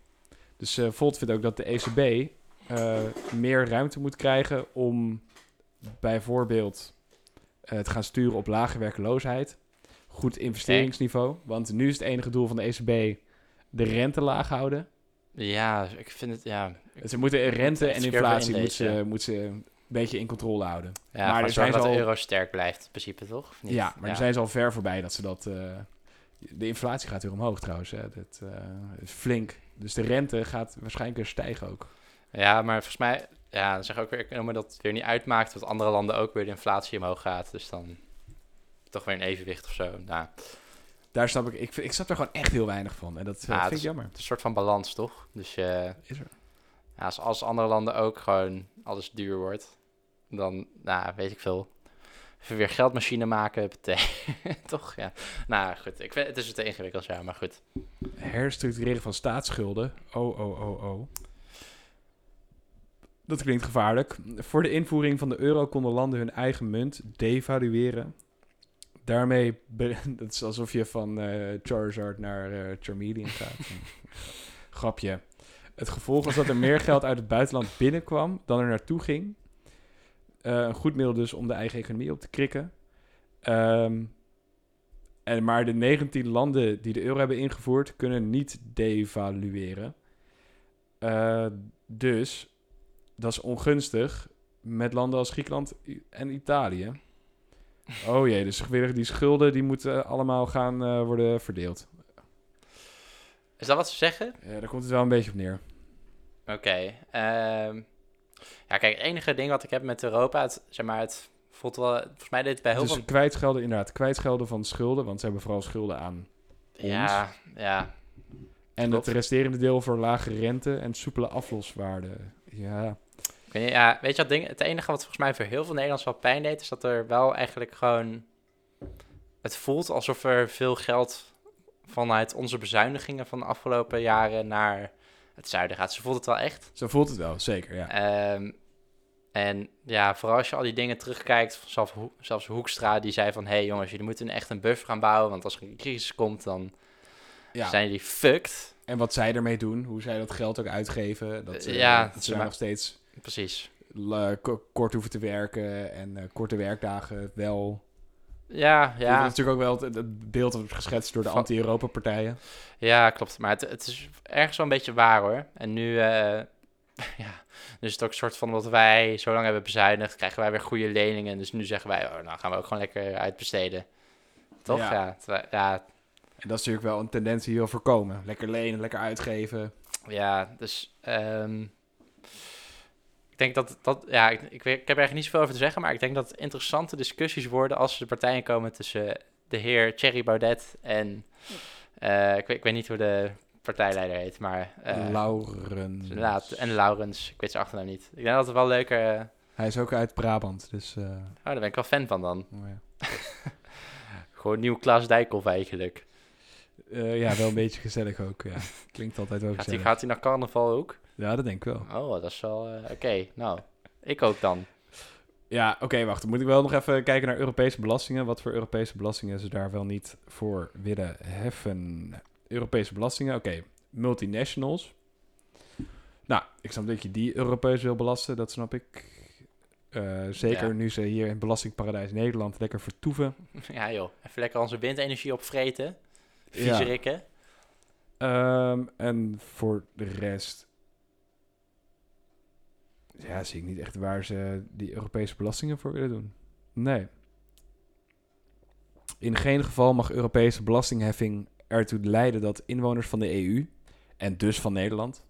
S2: Dus eh, Volt vindt ook dat de ECB eh, meer ruimte moet krijgen om bijvoorbeeld eh, te gaan sturen op lage werkloosheid. Goed investeringsniveau. Want nu is het enige doel van de ECB de rente laag houden.
S1: Ja, ik vind het, ja.
S2: Dus Ze moeten rente en
S1: Scherper
S2: inflatie moeten
S1: inlezen.
S2: ze, moeten ze een beetje in controle houden.
S1: ja
S2: Maar
S1: maar
S2: er
S1: zorgen
S2: zijn
S1: dat de
S2: al-
S1: euro sterk blijft, in principe, toch? Of niet?
S2: Ja, maar daar zijn ze al ver voorbij dat ze dat... eh, de inflatie gaat weer omhoog trouwens. Hè. Dat eh, is flink. Dus de rente gaat waarschijnlijk weer stijgen ook.
S1: Ja, maar volgens mij, ja, dan zeg ook weer economen dat het weer niet uitmaakt, want andere landen ook weer de inflatie omhoog gaat. Dus dan toch weer een evenwicht of zo. Nou,
S2: Daar snap ik... Ik, vind- ik snap daar gewoon echt heel weinig van. En dat eh,
S1: Ah, het
S2: vind
S1: is-
S2: ik jammer.
S1: het is een soort van balans, toch? Dus eh,
S2: Is er.
S1: ja, als, als andere landen ook gewoon alles duur wordt, dan, nou, weet ik veel. Even weer geldmachine maken, betekent toch? Ja. Nou goed, ik vind, het is het ingewikkeld, ja, maar goed.
S2: Herstructureren van staatsschulden. Oh, oh, oh, oh. Dat klinkt gevaarlijk. Voor de invoering van de euro konden landen hun eigen munt devalueren. Daarmee, be- dat is alsof je van eh, Charizard naar eh Charmeleon gaat. Grapje. Het gevolg was dat er meer geld uit het buitenland binnenkwam dan er naartoe ging. Eh, een goed middel dus om de eigen economie op te krikken. Ehm, en maar de 19 landen die de euro hebben ingevoerd, kunnen niet devalueren. Eh, dus dat is ongunstig met landen als Griekenland I- en Italië. Oh jee, dus weer die schulden die moeten allemaal gaan eh, worden verdeeld.
S1: Is dat wat ze zeggen?
S2: Ja, daar komt het wel een beetje op neer.
S1: Oké. ehm, ja, kijk, het enige ding wat ik heb met Europa, het, zeg maar, het voelt wel... Volgens mij deed het bij heel
S2: dus
S1: veel...
S2: kwijtschelden inderdaad, kwijtschelden van schulden, want ze hebben vooral schulden aan.
S1: Ja, ja.
S2: En
S1: Klopt.
S2: het resterende deel voor lage rente en soepele afloswaarden. Ja,
S1: Ik weet niet, ja, weet je wat ding? Het enige wat volgens mij voor heel veel Nederlanders wel pijn deed, is dat er wel eigenlijk gewoon. Het voelt alsof er veel geld vanuit onze bezuinigingen van de afgelopen jaren naar het zuiden gaat. Ze voelt het wel echt.
S2: zo voelt het wel, zeker. Ja.
S1: Ehm, en ja, vooral als je al die dingen terugkijkt, zelfs, Ho- zelfs Hoekstra die zei van... hé hey jongens, jullie moeten echt een buffer gaan bouwen, want als er een crisis komt, dan
S2: Ja.
S1: zijn jullie fucked.
S2: En wat zij ermee doen, hoe zij dat geld ook uitgeven. Dat, eh,
S1: Ja,
S2: dat
S1: ze
S2: ze
S1: ma-
S2: nog steeds
S1: Precies.
S2: la- ko- kort hoeven te werken en eh, korte werkdagen wel.
S1: Ja,
S2: Ja. Dat
S1: ja.
S2: is natuurlijk ook wel het, het beeld dat wordt geschetst door de
S1: Van-
S2: anti-Europa-partijen.
S1: Ja, klopt. Maar het, het is ergens wel een beetje waar hoor. En nu, eh, ja, nu is het ook een soort van wat wij zo lang hebben bezuinigd, krijgen wij weer goede leningen. Dus nu zeggen wij, oh, nou gaan we ook gewoon lekker uitbesteden. Toch?
S2: Ja.
S1: Ja, ja, terwijl- ja,
S2: En dat is natuurlijk wel een tendens die je wil voorkomen. Lekker lenen, lekker uitgeven.
S1: ja, dus ehm, ik denk dat dat, ja, ik, ik, weet- ik heb er eigenlijk niet zoveel over te zeggen, maar ik denk dat het interessante discussies worden als de partijen komen tussen de heer Thierry Baudet en, eh, ik, weet- ik weet niet hoe de partijleider heet, maar... eh,
S2: Lauren.
S1: Inderdaad, en Laurens. Ik weet zijn achternaam niet. Ik denk dat het wel leuker... eh,
S2: Hij is ook uit Brabant, dus... eh,
S1: Oh, daar ben ik wel fan van dan.
S2: oh ja.
S1: Gewoon nieuw Klaas Dijkhoff eigenlijk.
S2: Eh, ja, wel een beetje gezellig ook. Ja. Klinkt altijd wel
S1: Gaat hij,
S2: gezellig.
S1: gaat hij naar carnaval ook?
S2: Ja, dat denk ik wel.
S1: Oh, dat is wel... eh, Oké, nou. Ik ook dan.
S2: Ja, oké, wacht. Dan moet ik wel nog even kijken naar Europese belastingen. Wat voor Europese belastingen ze daar wel niet voor willen heffen. Europese belastingen, oké. Multinationals. Nou, ik snap dat je die Europees wil belasten, dat snap ik. Eh, zeker
S1: Ja.
S2: nu ze hier in belastingparadijs Nederland lekker vertoeven.
S1: ja joh, even lekker onze windenergie opvreten.
S2: Ja.
S1: Vieze rikken.
S2: Ehm, en voor de rest... Ja, zie ik niet echt waar ze die Europese belastingen voor willen doen. Nee. In geen geval mag Europese belastingheffing ertoe leiden dat inwoners van de EU, en dus van Nederland,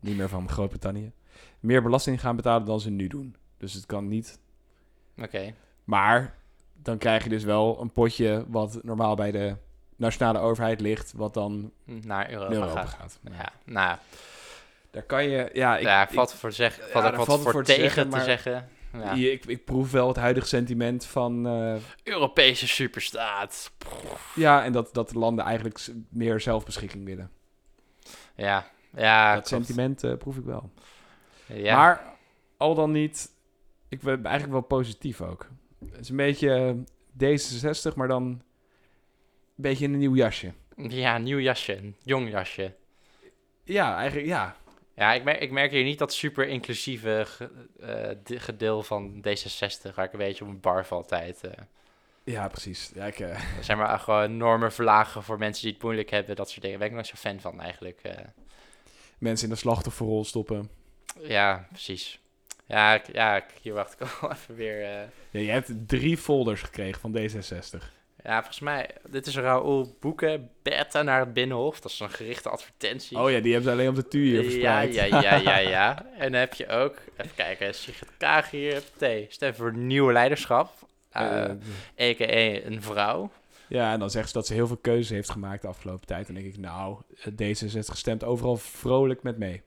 S2: niet meer van Groot-Brittannië, meer belasting gaan betalen dan ze nu doen. Dus het kan niet.
S1: Oké.
S2: Maar dan krijg je dus wel een potje wat normaal bij de nationale overheid ligt, wat dan
S1: Naar Europa,
S2: naar Europa
S1: gaan.
S2: gaat.
S1: Ja, nou,
S2: Daar kan je, ja, ik,
S1: ja,
S2: ik-
S1: valt voor te zeggen,
S2: ja,
S1: valt ook
S2: daar
S1: wat
S2: valt
S1: voor,
S2: voor te
S1: tegen
S2: zeggen,
S1: te
S2: maar-
S1: zeggen. Ja.
S2: je- ik, ik proef wel het huidige sentiment van, eh,
S1: Europese superstaat.
S2: ja, en dat, dat landen eigenlijk s- meer zelfbeschikking willen.
S1: Ja, ja,
S2: dat
S1: klopt.
S2: sentiment eh, proef ik wel.
S1: Ja.
S2: Maar al dan niet, ik ben eigenlijk wel positief ook. Het is een beetje eh, D66, maar dan een beetje in een nieuw jasje.
S1: ja, nieuw jasje. een Jong jasje.
S2: Ja, eigenlijk, ja.
S1: Ja, ik merk, ik merk hier niet dat super inclusieve ge- eh, de- gedeel van D66, waar ik een beetje op een bar val altijd. eh.
S2: Ja, precies. Ja, ik, eh,
S1: Er zijn maar gewoon normen verlagen voor mensen die het moeilijk hebben, dat soort dingen. Daar ben ik nooit zo fan van eigenlijk. eh.
S2: mensen in de slachtofferrol stoppen.
S1: ja, precies. Ja, ik, ja ik, hier wacht ik al even weer. eh.
S2: Ja, je hebt drie folders gekregen van D66.
S1: Ja, volgens mij, dit is Raoul Boeken, Beta naar het Binnenhof. Dat is een gerichte advertentie.
S2: Oh ja, die hebben ze alleen op de tuur hier
S1: ja,
S2: verspreid.
S1: ja, ja, ja, ja. En dan heb je ook, even kijken, Sigrid Kaag hier, T. Stem voor nieuw leiderschap, eh,
S2: Eh,
S1: a.k.a. een vrouw.
S2: Ja, en dan zegt ze dat ze heel veel keuzes heeft gemaakt de afgelopen tijd. En dan denk ik, nou, D66 stemt overal vrolijk met mee.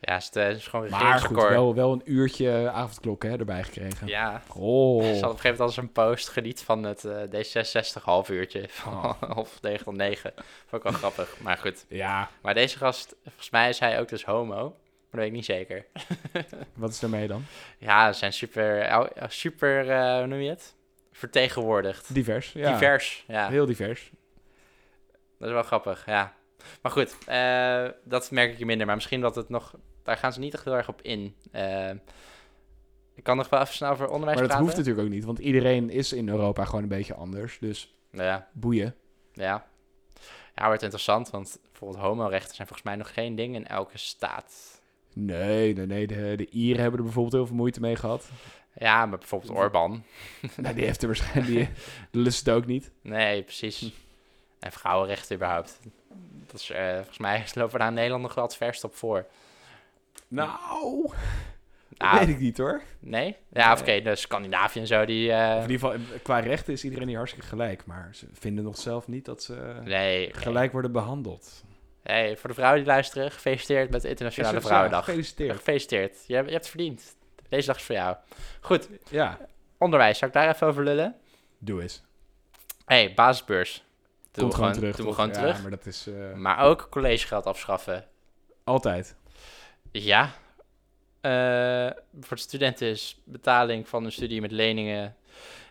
S1: Ja, het is, eh, het is gewoon
S2: Maar goed,
S1: regeringsrecord.
S2: wel, wel een uurtje avondklok hè, erbij gekregen.
S1: Ja,
S2: Oh.
S1: ze had op een gegeven moment als een post geniet van het eh, D66 half uurtje van
S2: Oh.
S1: half negen tot negen. Vond ik wel grappig, maar goed.
S2: Ja,
S1: Maar deze gast, volgens mij is hij ook dus homo. Maar dat weet ik niet zeker.
S2: Wat is daarmee dan?
S1: Ja, ze zijn super, ou- super eh, hoe noem je het? Vertegenwoordigd.
S2: Divers. Ja.
S1: Divers, ja.
S2: Heel divers.
S1: Dat is wel grappig, ja. Maar goed, eh, dat merk ik je minder. Maar misschien dat het nog... Daar gaan ze niet echt heel erg op in. Eh, ik kan nog wel even snel over onderwijs
S2: Maar dat
S1: praten.
S2: hoeft natuurlijk ook niet, want iedereen is in Europa gewoon een beetje anders. Dus
S1: Ja,
S2: boeien.
S1: ja. Ja, wordt interessant, want bijvoorbeeld homorechten zijn volgens mij nog geen ding in elke staat.
S2: Nee, nee, nee. De, de Ieren hebben er bijvoorbeeld heel veel moeite mee gehad.
S1: Ja, maar bijvoorbeeld Orbán.
S2: nou, die heeft er waarschijnlijk... Die die lust het ook niet.
S1: Nee, precies. En vrouwenrechten überhaupt. Dat is, eh, volgens mij lopen daar in Nederland nog wel het verst op voor.
S2: Nou,
S1: Ah,
S2: weet ik niet hoor.
S1: nee? Ja,
S2: Nee.
S1: oké, de Scandinavië en zo, die... eh,
S2: In ieder geval, qua rechten is iedereen hier hartstikke gelijk. Maar ze vinden nog zelf niet dat ze
S1: Nee, oké.
S2: gelijk worden behandeld.
S1: Hey, voor de vrouwen die luisteren, gefeliciteerd met de Internationale
S2: Is het zo?
S1: Vrouwendag.
S2: Gefeliciteerd.
S1: Gefeliciteerd. Je, hebt- je hebt het verdiend. Deze dag is voor jou. Goed,
S2: Ja,
S1: onderwijs. Zou ik daar even over lullen?
S2: doe eens.
S1: hey, basisbeurs. Doen
S2: Komt
S1: we
S2: gewoon terug.
S1: Doen we
S2: toch?
S1: gewoon
S2: ja,
S1: terug.
S2: maar dat is eh,
S1: Maar ook collegegeld afschaffen.
S2: altijd.
S1: Ja. Eh, voor de studenten is betaling van een studie met leningen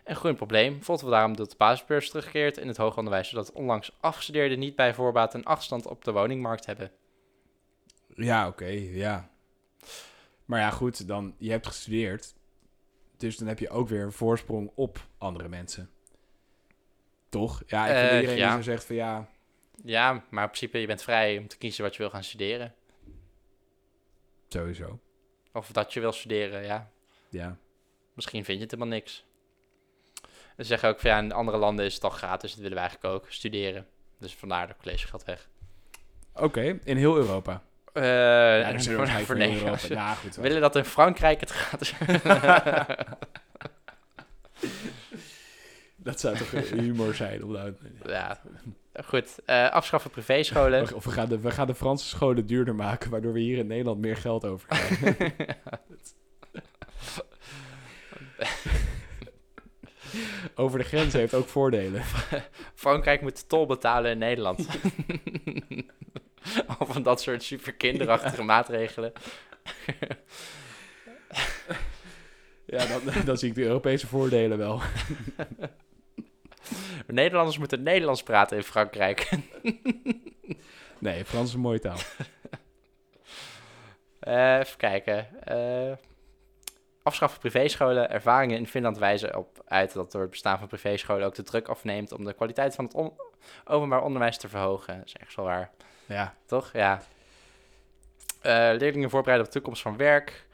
S1: een groeiend probleem. Volgen we daarom dat de basisbeurs terugkeert in het hoger onderwijs, zodat onlangs afgestudeerden niet bij voorbaat een achterstand op de woningmarkt hebben.
S2: Ja, oké, ja. Maar ja, goed, dan, je hebt gestudeerd. Dus dan heb je ook weer een voorsprong op andere mensen. Toch? Ja, ik vind
S1: Eh,
S2: iedereen
S1: ja.
S2: die zo zegt van ja...
S1: Ja, maar in principe, je bent vrij om te kiezen wat je wil gaan studeren.
S2: Sowieso,
S1: Of dat je wil studeren, ja.
S2: ja.
S1: Misschien vind je het helemaal niks. Ze zeggen ook van ja, in andere landen is het al gratis, dat willen we eigenlijk ook, studeren. Dus vandaar dat college gaat weg.
S2: Oké, in heel Europa.
S1: Eh,
S2: dan
S1: en
S2: zullen
S1: voor,
S2: we waarschijnlijk
S1: voor
S2: heel
S1: Nederlanders.
S2: Europa- Ja, goed.
S1: We
S2: wel.
S1: willen dat in Frankrijk het gratis
S2: Dat zou toch humor zijn? Om dat...
S1: Ja, goed. Eh, afschaffen privéscholen.
S2: Of we gaan, de, we gaan de Franse scholen duurder maken, waardoor we hier in Nederland meer geld over hebben. over de grens heeft ook voordelen.
S1: Frankrijk moet tol betalen in Nederland. of van dat soort super kinderachtige maatregelen.
S2: Ja, dan, dan zie ik de Europese voordelen wel.
S1: Nederlanders moeten Nederlands praten in Frankrijk.
S2: Nee, Frans is een mooie taal.
S1: Eh, even kijken. Eh afschaffen privéscholen. Ervaringen in Finland wijzen op uit dat door het bestaan van privéscholen ook de druk afneemt om de kwaliteit van het on- openbaar onderwijs te verhogen. Dat is echt wel waar.
S2: Ja,
S1: Toch? Ja. Eh, leerlingen voorbereiden op de toekomst van werk.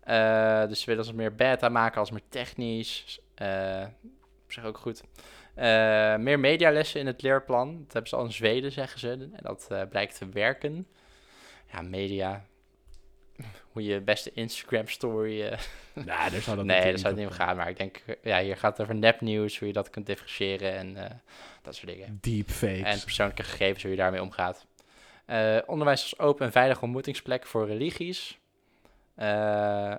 S1: Eh, dus ze willen als meer beta maken, als meer technisch. Eh op zich ook goed. Eh, meer medialessen in het leerplan. Dat hebben ze al in Zweden, zeggen ze. En dat eh, blijkt te werken. Ja, media. Hoe je beste Instagram-story... eh,
S2: nou, daar zou dat
S1: nee,
S2: natuurlijk
S1: daar zou het niet om
S2: op
S1: gaan. Maar ik denk, eh, ja, hier gaat het over nepnieuws. Hoe je dat kunt differentiëren en eh, dat soort dingen. En
S2: Deepfakes.
S1: persoonlijke gegevens, hoe je daarmee omgaat. Eh, onderwijs als open en veilige ontmoetingsplek voor religies. Eh,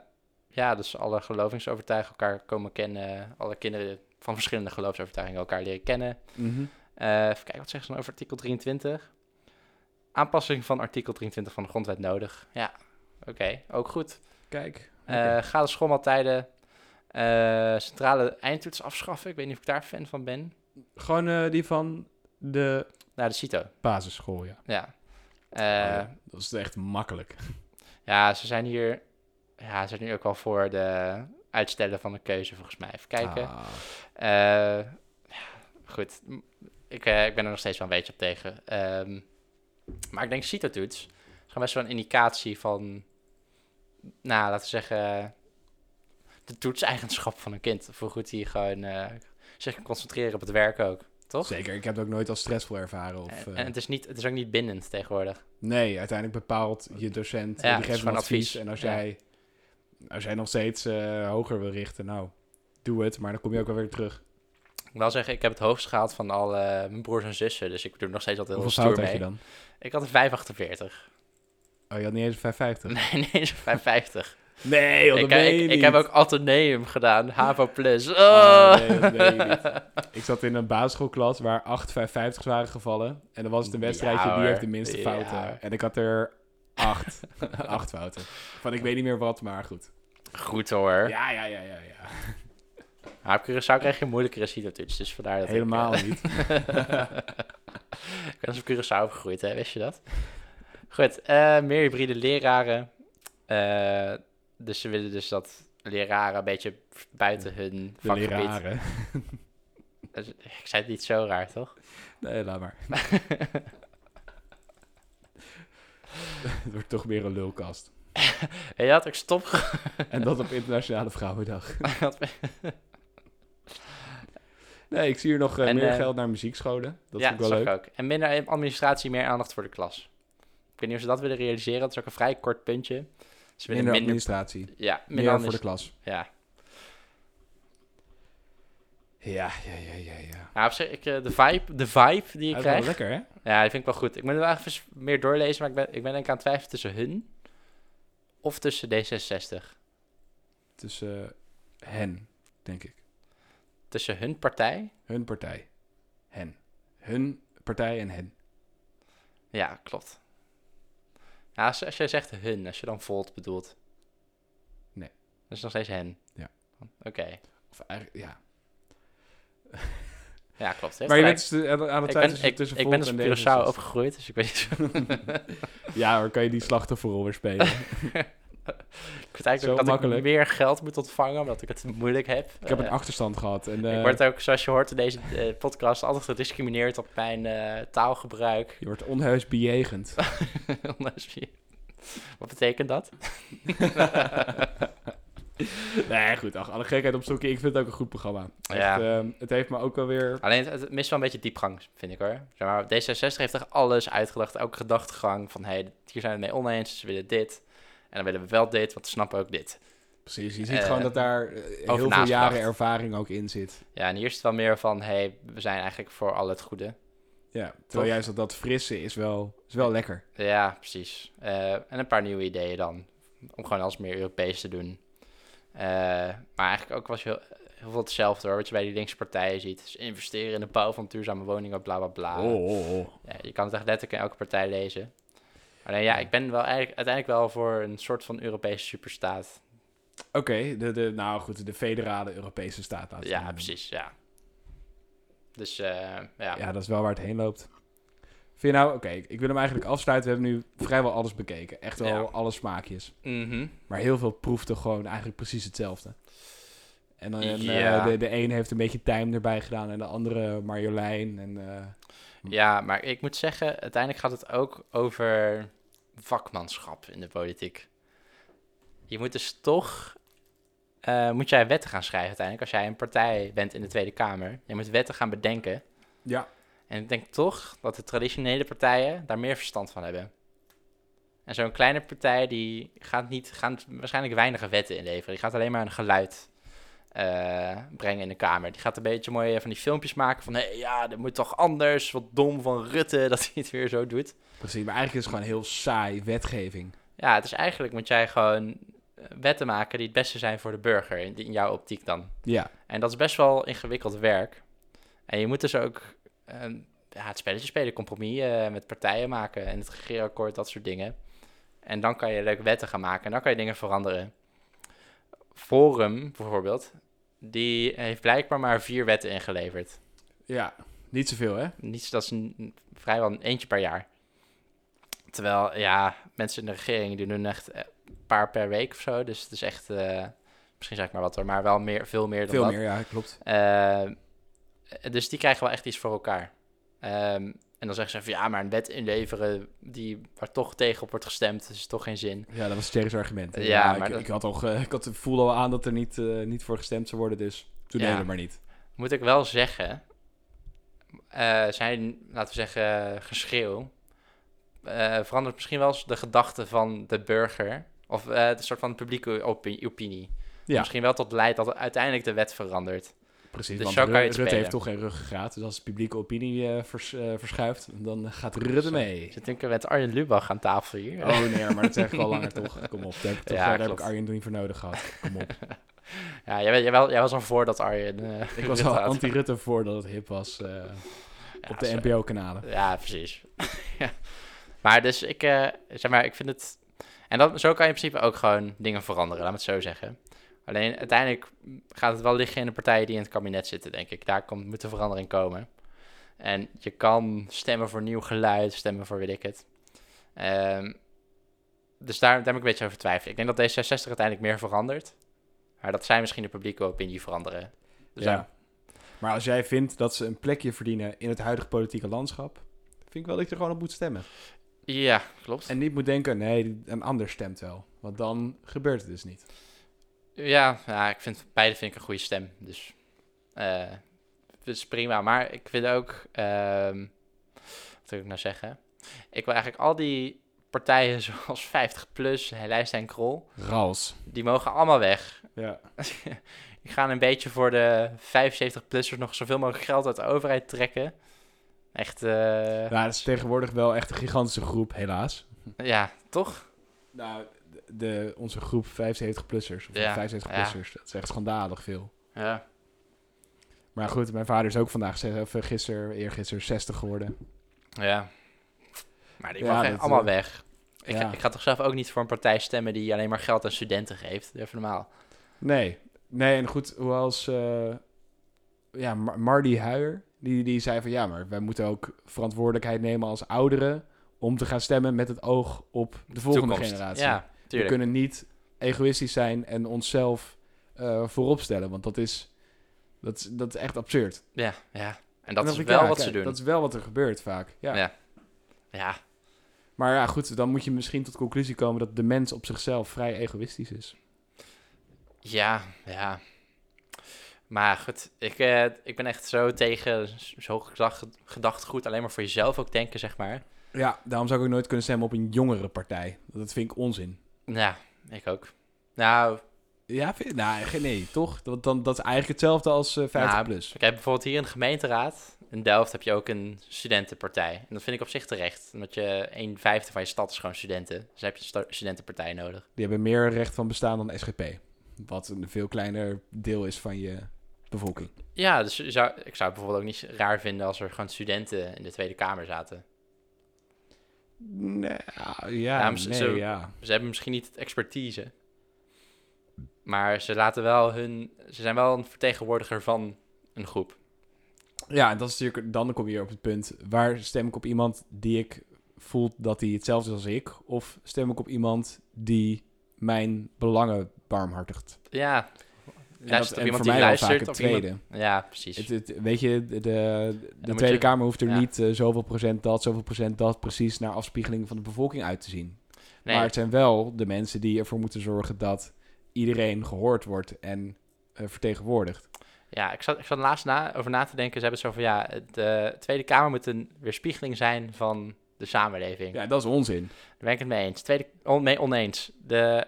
S1: ja, dus alle gelovingsovertuigingen elkaar komen kennen. Alle kinderen van verschillende geloofsovertuigingen elkaar leren kennen.
S2: Mhm.
S1: Eh, even kijken, wat zeggen ze dan over artikel 23? Aanpassing van artikel 23 van de grondwet nodig. Ja, oké, ook goed.
S2: Kijk.
S1: Eh Ga de schoolmaaltijden. eh, centrale eindtoets afschaffen. Ik weet niet of ik daar fan van ben.
S2: Gewoon eh, die van de
S1: Naar de CITO,
S2: basisschool, ja.
S1: ja.
S2: Oh,
S1: Eh
S2: ja. Dat is echt makkelijk.
S1: Ja, ze zijn hier. Ja, ze zijn nu ook wel voor de uitstellen van de keuze, volgens mij. Even kijken.
S2: Ah.
S1: Eh, ja, goed. M- Ik, eh, ik ben er nog steeds wel een beetje op tegen. Ehm, maar ik denk CITO-toets is gewoon best wel een indicatie van. Nou, laten we zeggen. De toetseigenschap van een kind. Of hoe goed hij gewoon eh, zich kan concentreren op het werk ook. Toch?
S2: Zeker, ik heb het ook nooit als stressvol ervaren. Of,
S1: En-
S2: eh,
S1: en het is, niet, het is ook niet bindend tegenwoordig.
S2: Nee, uiteindelijk bepaalt je docent.
S1: Ja,
S2: eh,
S1: het
S2: die
S1: is
S2: geeft een
S1: gewoon
S2: advies.
S1: advies.
S2: En als,
S1: Ja.
S2: jij, als jij nog steeds eh, hoger wil richten, nou, doe het. Maar dan kom je ook wel weer terug.
S1: Ik wil wel zeggen, ik heb het hoogst gehaald van al eh, mijn broers en zussen. Dus ik doe er nog steeds altijd heel
S2: Hoeveel
S1: stoer
S2: fout had
S1: mee.
S2: je dan?
S1: Ik had een 548.
S2: Oh, je had niet eens een 550?
S1: Nee, nee, een 550.
S2: Nee, joh, dat
S1: ik, eh,
S2: meen je
S1: ik, ik
S2: niet.
S1: heb ook Atheneum gedaan, HAVO+. Plus. Oh.
S2: Ah, nee, dat meen je niet. Ik zat in een basisschoolklas waar 8 550's waren gevallen. En dan was het een
S1: Ja,
S2: wedstrijdje, die
S1: hoor.
S2: heeft de minste
S1: Ja,
S2: fouten.
S1: hoor.
S2: En ik had er Acht. Acht fouten. Van ik weet niet meer wat, maar goed.
S1: Goed hoor.
S2: Ja, ja, ja, ja. ja.
S1: Maar op Curaçao krijg je moeilijkere CITO-toets, dus vandaar dat ik, eh,
S2: Helemaal niet.
S1: Ik ben dus op Curaçao opgegroeid, hè? wist je dat? Goed, eh, meer hybride leraren. Eh, dus ze willen dus dat leraren een beetje buiten hun
S2: De
S1: vakgebied...
S2: leraren.
S1: Dus Ik zei het niet zo raar, toch?
S2: Nee, laat maar. Het wordt toch meer een lulkast.
S1: En je had ook stom ge-
S2: En dat op Internationale Vrouwendag.
S1: Ah,
S2: Nee, ik zie hier nog eh,
S1: En,
S2: meer
S1: eh,
S2: geld naar muziekscholen. Dat
S1: ja,
S2: vind ik
S1: zag
S2: wel leuk.
S1: ik ook. En minder administratie, meer aandacht voor de klas. Ik weet niet of ze dat willen realiseren. Dat is ook een vrij kort puntje. Ze willen
S2: Minder
S1: minder...
S2: administratie.
S1: ja,
S2: Meer
S1: minder
S2: voor de
S1: administratie.
S2: klas.
S1: Ja.
S2: Ja, ja, ja, ja. ja.
S1: Nou, op zich, ik, eh, de, vibe, de vibe die je
S2: Dat is wel
S1: krijgt...
S2: lekker, hè?
S1: Ja, die vind ik wel goed. Ik moet het wel even meer doorlezen, maar ik ben, ik ben denk ik aan het twijfelen tussen hun of tussen D66.
S2: Tussen eh, hen, denk ik.
S1: Tussen hun partij.
S2: Hun partij. Hen. Hun partij en hen.
S1: Ja, klopt. Ja, als, als jij zegt hun, als je dan Volt bedoelt.
S2: Nee.
S1: Dat is nog steeds hen.
S2: Ja.
S1: Oké.
S2: Of eigenlijk, ja.
S1: Ja, klopt. Heeft
S2: Maar je
S1: gelijk.
S2: bent dus aan- aan
S1: ik
S2: het tijd
S1: ben,
S2: tussen,
S1: ik,
S2: tussen
S1: ik ben dus
S2: Volt
S1: op
S2: en
S1: Curaçao
S2: D66.
S1: opgegroeid, dus ik weet niet.
S2: Ja hoor, kan je die slachtofferrol weer spelen.
S1: Ik weet eigenlijk ook
S2: Zo
S1: dat
S2: makkelijk.
S1: ik meer geld moet ontvangen, omdat ik het moeilijk heb.
S2: ik heb een achterstand gehad. En, eh,
S1: ik word ook, zoals je hoort in deze eh, podcast, altijd gediscrimineerd op mijn eh, taalgebruik.
S2: Je wordt onheus bejegend.
S1: Ondanks wie- Wat betekent dat?
S2: nee, goed. Ach, alle gekheid op stokje. Ik vind het ook een goed programma. Echt,
S1: Ja.
S2: ehm, het heeft me ook wel weer...
S1: Alleen het, het mist wel een beetje diepgang, vind ik hoor. Zeg maar, D66 heeft echt alles uitgedacht, elke gedachtegang van hey, hier zijn we het mee oneens, ze willen dit. En dan willen we wel dit, want we snappen ook dit.
S2: Precies, je ziet
S1: Eh,
S2: gewoon dat daar eh, heel veel
S1: nagedacht.
S2: jaren ervaring ook in zit.
S1: Ja, en hier is het wel meer van, hey, we zijn eigenlijk voor al het goede.
S2: Ja, terwijl
S1: Toch?
S2: juist dat, dat frisse is wel, is wel lekker.
S1: Ja, precies. Eh, en een paar nieuwe ideeën dan. Om gewoon alles meer Europees te doen. Eh, maar eigenlijk ook was heel, heel veel hetzelfde hoor. Wat je bij die linkse partijen ziet. Dus investeren in de bouw van duurzame woningen, bla bla bla.
S2: Oh,
S1: Ja, je kan het echt letterlijk in elke partij lezen. Alleen ja, ik ben wel eigenlijk, uiteindelijk wel voor een soort van Europese superstaat.
S2: Oké, de, de, nou goed, de federale Europese staat. laten we het
S1: Ja,
S2: noemen.
S1: precies, ja. Dus eh, ja.
S2: Ja, dat is wel waar het heen loopt. Vind je nou, oké, ik- ik wil hem eigenlijk afsluiten. We hebben nu vrijwel alles bekeken. Echt wel
S1: Ja.
S2: alle smaakjes.
S1: Mhm.
S2: Maar heel veel proefde gewoon eigenlijk precies hetzelfde. En dan en, eh,
S1: Ja.
S2: de, de een heeft een beetje tijm erbij gedaan en de andere Marjolein. En, eh,
S1: Hm. ja, maar ik moet zeggen, uiteindelijk gaat het ook over vakmanschap in de politiek. Je moet dus toch, eh, moet jij wetten gaan schrijven uiteindelijk. Als jij een partij bent in de Tweede Kamer, je moet wetten gaan bedenken.
S2: ja,
S1: En ik denk toch dat de traditionele partijen daar meer verstand van hebben. En zo'n kleine partij die gaat, niet, gaat waarschijnlijk weinige wetten inleveren. Die gaat alleen maar een geluid eh, brengen in de Kamer. Die gaat een beetje mooi eh, van die filmpjes maken van... Hey, ja, dat moet toch anders? Wat dom van Rutte dat hij het weer zo doet.
S2: precies. Maar eigenlijk is het gewoon heel saai wetgeving.
S1: Ja, het is eigenlijk moet jij gewoon eh, wetten maken die het beste zijn voor de burger. In, in jouw optiek dan.
S2: Ja,
S1: En dat is best wel ingewikkeld werk. En je moet dus ook ehm, ja, het spelletje spelen, compromis eh, met partijen maken en het regeerakkoord, dat soort dingen. En dan kan je leuke wetten gaan maken en dan kan je dingen veranderen. Forum bijvoorbeeld, die heeft blijkbaar maar vier wetten ingeleverd.
S2: ja. Niet zoveel, hè?
S1: Niets, dat is een, vrijwel een eentje per jaar. Terwijl, ja, mensen in de regering die doen echt eh, een paar per week of zo. Dus het is echt, eh, misschien zeg ik maar wat hoor, maar wel meer, veel meer dan
S2: Veel
S1: dat.
S2: meer, ja, klopt.
S1: Eh, dus die krijgen wel echt iets voor elkaar. Ehm, en dan zeggen ze van ja, maar een wet inleveren die waar toch tegen op wordt gestemd, is toch geen zin.
S2: Ja, dat was Thierry's argument.
S1: Ja,
S2: ik,
S1: maar dat-
S2: ik had al, ge- ik had, voelde al aan dat er niet, eh, niet voor gestemd zou worden, dus toen
S1: Ja.
S2: deden we maar niet.
S1: Moet ik wel zeggen, eh, zijn, laten we zeggen, geschreeuw eh, verandert misschien wel eens de gedachte van de burger of eh de soort van publieke opi- opinie.
S2: Ja.
S1: Misschien wel tot leidt dat uiteindelijk de wet verandert.
S2: Precies,
S1: Dus
S2: want
S1: zo
S2: Ru-
S1: kan je het
S2: Rutte
S1: spelen.
S2: heeft toch geen ruggengraat. Dus als de publieke opinie eh, vers- eh, verschuift, dan gaat Rutte
S1: Zo.
S2: mee.
S1: Ik zit denken met Arjen Lubach aan tafel hier.
S2: Oh nee, maar dat zeg ik al langer toch. Kom op, daar heb ik, toch,
S1: Ja,
S2: daar heb
S1: klopt.
S2: ik Arjen niet voor nodig gehad. Kom op.
S1: Ja, jij, jij, wel- jij was al voor dat Arjen. eh,
S2: Ik was
S1: dit
S2: al
S1: had.
S2: anti-Rutte voordat het hip was eh,
S1: Ja,
S2: op de
S1: zo.
S2: NPO-kanalen.
S1: Ja, precies. ja. Maar dus ik, eh, zeg maar, ik vind het... En dat, zo kan je in principe ook gewoon dingen veranderen, laat me het zo zeggen. Alleen uiteindelijk gaat het wel liggen in de partijen die in het kabinet zitten, denk ik. Daar komt, moet de verandering komen. En je kan stemmen voor nieuw geluid, stemmen voor weet ik het. Ehm, dus daar, daar ben ik een beetje over twijfelen. Ik denk dat D66 uiteindelijk meer verandert. Maar dat zij misschien de publieke opinie veranderen. Dus
S2: Ja.
S1: daar-
S2: Maar als jij vindt dat ze een plekje verdienen in het huidige politieke landschap, vind ik wel dat je er gewoon op moet stemmen.
S1: ja, klopt.
S2: En niet moet denken, nee, een ander stemt wel. Want dan gebeurt het dus niet.
S1: Ja, ja, ik vind beide vind ik een goede stem. Dus eh dat is prima. Maar ik vind ook. ehm, wat wil ik nou zeggen? Ik wil eigenlijk al die partijen zoals 50 plus, Lijst en Krol,
S3: Rals.
S1: die mogen allemaal weg.
S2: Ja.
S1: Die gaan een beetje voor de 75-plussers nog zoveel mogelijk geld uit de overheid trekken. Echt, eh, ja.
S2: Nou, dat is tegenwoordig wel echt een gigantische groep, helaas.
S1: toch?
S2: Nou, de, de- onze groep 75-plussers, of
S1: Ja,
S2: 75-plussers, dat is echt schandalig veel.
S1: Ja.
S2: Maar goed, mijn vader is ook vandaag, zes- of eh, gisteren, eergisteren 60 geworden.
S1: Ja. Maar die
S2: Ja,
S1: mogen echt
S2: dat,
S1: allemaal
S2: eh,
S1: weg. Ik,
S2: ja.
S1: ik ga toch zelf ook niet voor een partij stemmen die alleen maar geld aan studenten geeft. Even normaal.
S2: Nee, nee, en goed, hoewels, eh ja, Mar- Mardi Huijer, die, die zei van ja, maar wij moeten ook verantwoordelijkheid nemen als ouderen om te gaan stemmen met het oog op de volgende
S1: Toekomst.
S2: generatie.
S1: Ja,
S2: We
S1: tuurlijk.
S2: kunnen niet egoïstisch zijn en onszelf eh voorop stellen, want dat is, dat, is- dat is echt absurd.
S1: Ja, ja. En dat
S2: En
S1: is wel
S2: dan dacht ik, ja,
S1: wat
S2: kijk,
S1: ze doen.
S2: Dat is wel wat er gebeurt vaak. Ja.
S1: Ja. Ja,
S2: Maar ja, goed, dan moet je misschien tot de conclusie komen dat de mens op zichzelf vrij egoïstisch is.
S1: ja, ja. Maar goed, ik, eh, ik ben echt zo tegen zo'n gedacht, gedachtegoed. Alleen maar voor jezelf ook denken, zeg maar.
S2: Ja, daarom zou ik ook nooit kunnen stemmen op een jongere partij. Dat vind ik onzin.
S1: Ja, ik ook. Nou,
S2: Ja, vind, nou, ge- nee, toch? Dat, dan, dat is eigenlijk hetzelfde als eh, 50
S1: Nou,
S2: plus.
S1: Kijk, bijvoorbeeld hier in de gemeenteraad in Delft heb je ook een studentenpartij. En dat vind ik op zich terecht. Omdat je een vijfde van je stad is gewoon studenten. Dus dan heb je een sta- studentenpartij nodig.
S2: Die hebben meer recht van bestaan dan SGP. Wat een veel kleiner deel is van je bevolking.
S1: Ja, dus je zou, ik zou het bijvoorbeeld ook niet raar vinden als er gewoon studenten in de Tweede Kamer zaten.
S2: Nee, ja,
S1: Ja,
S2: ja,
S1: maar ze-
S2: nee,
S1: ze-
S2: ja.
S1: Ze hebben misschien niet het expertise. Maar ze laten wel hun. Ze zijn wel een vertegenwoordiger van een groep.
S2: Ja, en dat is natuurlijk, dan kom je weer op het punt, waar stem ik op iemand die ik voel dat hij hetzelfde is als ik? Of stem ik op iemand die mijn belangen barmhartigt?
S1: Ja.
S2: dat,
S1: Luistert op iemand
S2: voor
S1: die
S2: mij wel vaak
S1: luistert.
S2: het
S1: Of iemand-
S2: tweede.
S1: Ja, precies.
S2: Het, het- weet je, de, de
S1: moet
S2: Tweede
S1: je-
S2: Kamer hoeft er
S1: ja.
S2: niet eh, zoveel procent dat, zoveel procent dat precies naar afspiegeling van de bevolking uit te zien.
S1: nee,
S2: Maar het zijn wel de mensen die ervoor moeten zorgen dat iedereen gehoord wordt en eh, vertegenwoordigd.
S1: ja, ik zat, ik zat laatst na, over na te denken. Ze hebben zo van ja, de Tweede Kamer moet een weerspiegeling zijn van de samenleving.
S2: Ja, dat is onzin.
S1: Daar ben ik het mee eens. Tweede, on, mee oneens. De,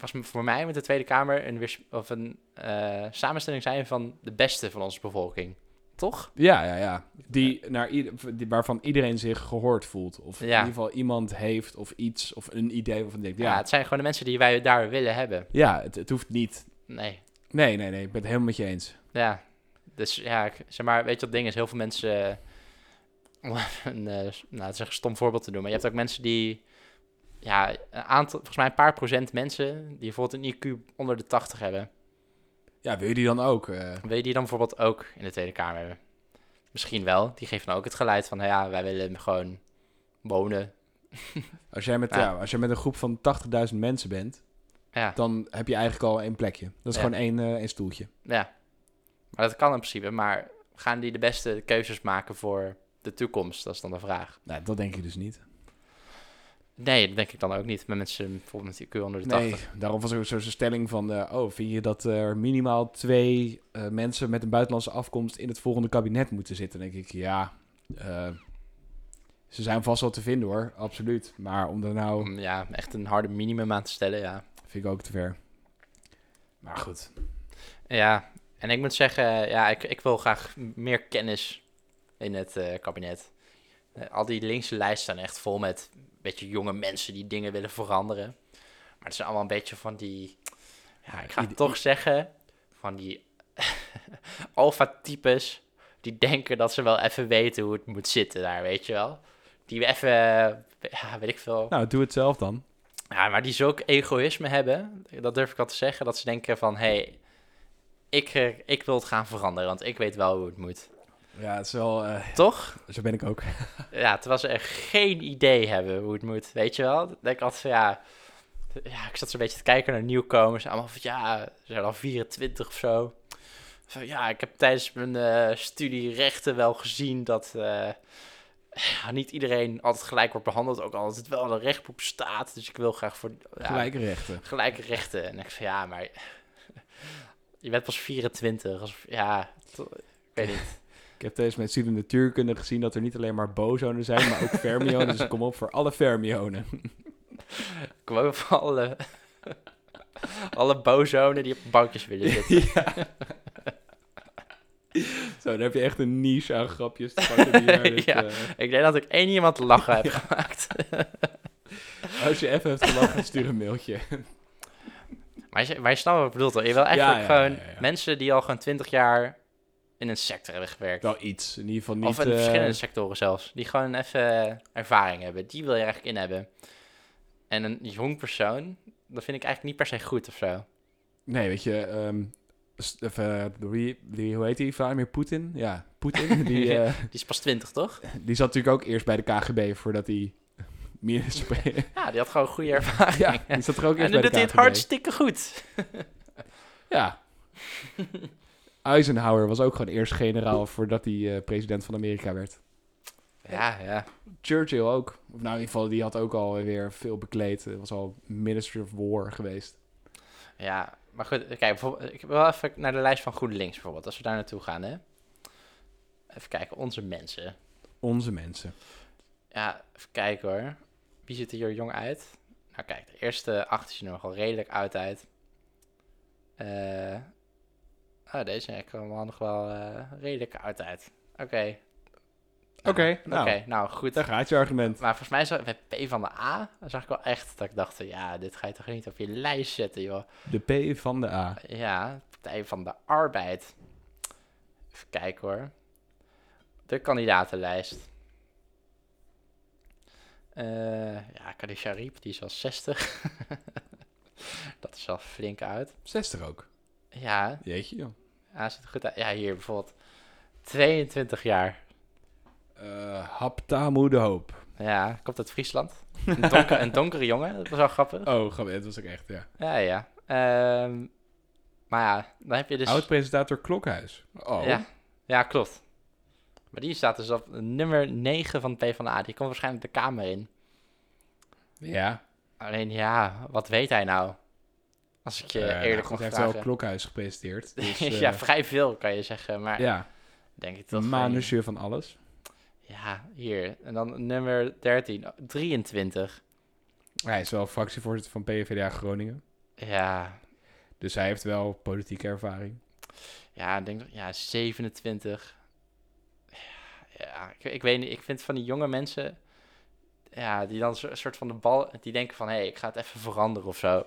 S1: was m- voor mij moet de Tweede Kamer een, weers, of een eh, samenstelling zijn van de beste van onze bevolking. Toch?
S2: Ja, ja, ja. Die naar ieder, die, waarvan iedereen zich gehoord voelt. Of in
S1: Ja.
S2: ieder geval iemand heeft of iets of een idee waarvan denkt,
S1: Ja.
S2: ja,
S1: het zijn gewoon de mensen die wij daar willen hebben.
S2: ja het, het hoeft niet.
S1: Nee.
S2: Nee, nee, nee, ik ben het helemaal met je eens.
S1: Ja. Dus ja, ik, zeg maar, weet je wat het ding is? Heel veel mensen. Om een, eh, s- nou, het is echt een stom voorbeeld te doen. Maar je hebt ook mensen die. Ja, een aantal, volgens mij een paar procent mensen. die bijvoorbeeld een IQ onder de 80 hebben.
S2: Ja, wil je die dan ook? eh?
S1: Wil je die dan bijvoorbeeld ook in de Tweede Kamer hebben? Misschien wel. Die geeft dan ook het geluid van. nou ja, wij willen gewoon wonen.
S2: als, jij met,
S1: Ja.
S2: ja, als jij met een groep van 80.000 mensen bent,
S1: Ja.
S2: dan heb je eigenlijk al één plekje. Dat is
S1: Ja.
S2: gewoon één, eh, één stoeltje.
S1: Ja, maar dat kan in principe. Maar gaan die de beste keuzes maken voor de toekomst? Dat is dan de vraag.
S2: Nou, dat denk ik dus niet.
S1: Nee, dat denk ik dan ook niet. Met mensen bijvoorbeeld met IQ onder de
S2: Nee,
S1: 80.
S2: daarom was er zo- zo'n stelling van... eh, oh, vind je dat er minimaal twee eh, mensen met een buitenlandse afkomst... in het volgende kabinet moeten zitten? Dan denk ik, ja... eh, ze zijn vast wel te vinden hoor, absoluut. Maar om daar nou...
S1: Om ja, echt een harde minimum aan te stellen, ja.
S2: vind ik ook te ver. Maar goed.
S1: Ja, en ik moet zeggen, ja, ik, ik wil graag m- meer kennis in het eh, kabinet. Eh, al die linkse lijsten staan echt vol met een beetje jonge mensen die dingen willen veranderen. Maar het zijn allemaal een beetje van die, ja, ik ga het
S2: ieder-
S1: toch zeggen, van die alfa-types die denken dat ze wel even weten hoe het moet zitten daar, weet je wel. Die we even, eh, ja, weet ik veel.
S2: Nou, doe het zelf dan.
S1: Ja, maar die zulk egoïsme hebben, dat durf ik al te zeggen, dat ze denken van, hé, hey, ik, eh, ik wil het gaan veranderen, want ik weet wel hoe het moet.
S2: Ja, het is wel... eh,
S1: Toch?
S2: zo ben ik ook.
S1: Ja, terwijl ze echt geen idee hebben hoe het moet, weet je wel? Dan denk ik altijd van, ja, ja, ik zat zo'n beetje te kijken naar nieuwkomers, allemaal van, ja, ze zijn al 24 of zo. Van, ja, ik heb tijdens mijn eh, studie rechten wel gezien dat... eh, ja, niet iedereen altijd gelijk wordt behandeld, ook al is het wel in een rechtboek staat. Dus ik wil graag voor... ja,
S2: Gelijke rechten.
S1: gelijke rechten. En ik van ja, maar je bent pas 24. Alsof, ja, t- ik weet niet.
S2: Ik heb tijdens mijn studie natuurkunde gezien dat er niet alleen maar bozonen zijn, maar ook fermionen. dus ik kom op voor alle fermionen.
S1: Ik kwam ook van alle, alle bozonen die op bankjes willen zitten.
S2: Zo, dan heb je echt een niche aan grapjes te pakken. die daar dus,
S1: Ja.
S2: eh,
S1: Ik denk dat ik één iemand lachen heb gemaakt.
S2: als je even hebt gelachen, stuur een mailtje.
S1: Maar je, maar je snapt wat ik bedoel toch? Je wil eigenlijk
S2: ja,
S1: gewoon
S2: ja, ja, ja.
S1: mensen die al gewoon 20 jaar in een sector hebben gewerkt.
S2: Wel Nou, iets. In ieder geval niet...
S1: of in
S2: eh,
S1: verschillende sectoren zelfs. Die gewoon even ervaring hebben. Die wil je eigenlijk in hebben. En een jong persoon, dat vind ik eigenlijk niet per se goed of zo.
S2: Nee, weet je, ehm, st- of, eh, die, die, hoe heet die, Vladimir Poetin? Ja, Poetin, die, eh,
S1: Die is pas 20, toch?
S2: die zat natuurlijk ook eerst bij de KGB voordat hij minister...
S1: Ja, die had gewoon goede ervaring.
S2: ja, die zat er ook
S1: en
S2: eerst
S1: dan doet
S2: bij de
S1: hij het
S2: KGB.
S1: hartstikke goed.
S2: Ja. Eisenhower was ook gewoon eerst generaal voordat hij eh, president van Amerika werd.
S1: Ja, ja.
S2: Churchill ook. Of nou, in ieder geval, die had ook alweer veel bekleed. Eh, was al minister of war geweest.
S1: Ja, maar goed. Kijk, bijvoorbeeld- ik wil even naar de lijst van GroenLinks bijvoorbeeld. Als we daar naartoe gaan, hè. Even kijken, onze mensen.
S2: Onze mensen.
S1: Ja, even kijken hoor. Wie ziet er hier jong uit? Nou kijk, de eerste acht zien er nogal redelijk oud uit. Eh oh, deze ja, kwam nog wel eh, redelijk oud uit. Oké.
S2: Oké,
S1: Oké,
S2: nou,
S1: nou goed.
S2: daar gaat je argument.
S1: Maar volgens mij zag ik bij P van de A, zag ik wel echt dat ik dacht, ja, dit ga je toch niet op je lijst zetten, joh.
S2: De P van de A.
S1: Ja, Partij van de Arbeid. Even kijken hoor. De kandidatenlijst. Eh ja, Kadi Sharip, die is al 60. dat is al flink uit.
S2: 60 ook.
S1: Ja,
S2: Jeetje, joh.
S1: hij ziet er goed uit. Ja, hier bijvoorbeeld 22 jaar.
S2: Eh, Haptamu de Hoop.
S1: Ja, komt uit Friesland. Een, donker- een donkere jongen, dat was wel grappig.
S2: Oh, grappig. Dat was ook echt, ja.
S1: Ja, ja. Ehm, maar ja, dan heb je dus...
S2: Oud-presentator Klokhuis. Oh.
S1: ja. ja, klopt. Maar die staat dus op nummer 9 van de PvdA. Die komt waarschijnlijk de Kamer in.
S2: Ja.
S1: Alleen ja, wat weet hij nou? Als ik je
S2: Eh, nou
S1: eerlijk
S2: goed,
S1: mag
S2: Hij heeft wel
S1: vragen.
S2: Klokhuis gepresenteerd. Dus, eh,
S1: ja, vrij veel kan je zeggen, maar
S2: ja.
S1: denk ik dat...
S2: Een
S1: gewoon-
S2: manusje van alles.
S1: Ja, hier. En dan nummer 13. oh, 23.
S2: Hij is wel fractievoorzitter van PVDA Groningen.
S1: Ja,
S2: Dus hij heeft wel politieke ervaring.
S1: ja, ik denk dat- ja, 27. Ja, ik, ik weet niet. Ik vind van die jonge mensen, ja, die dan zo- een soort van de bal, die denken van, hé, hey, ik ga het even veranderen of zo. Ik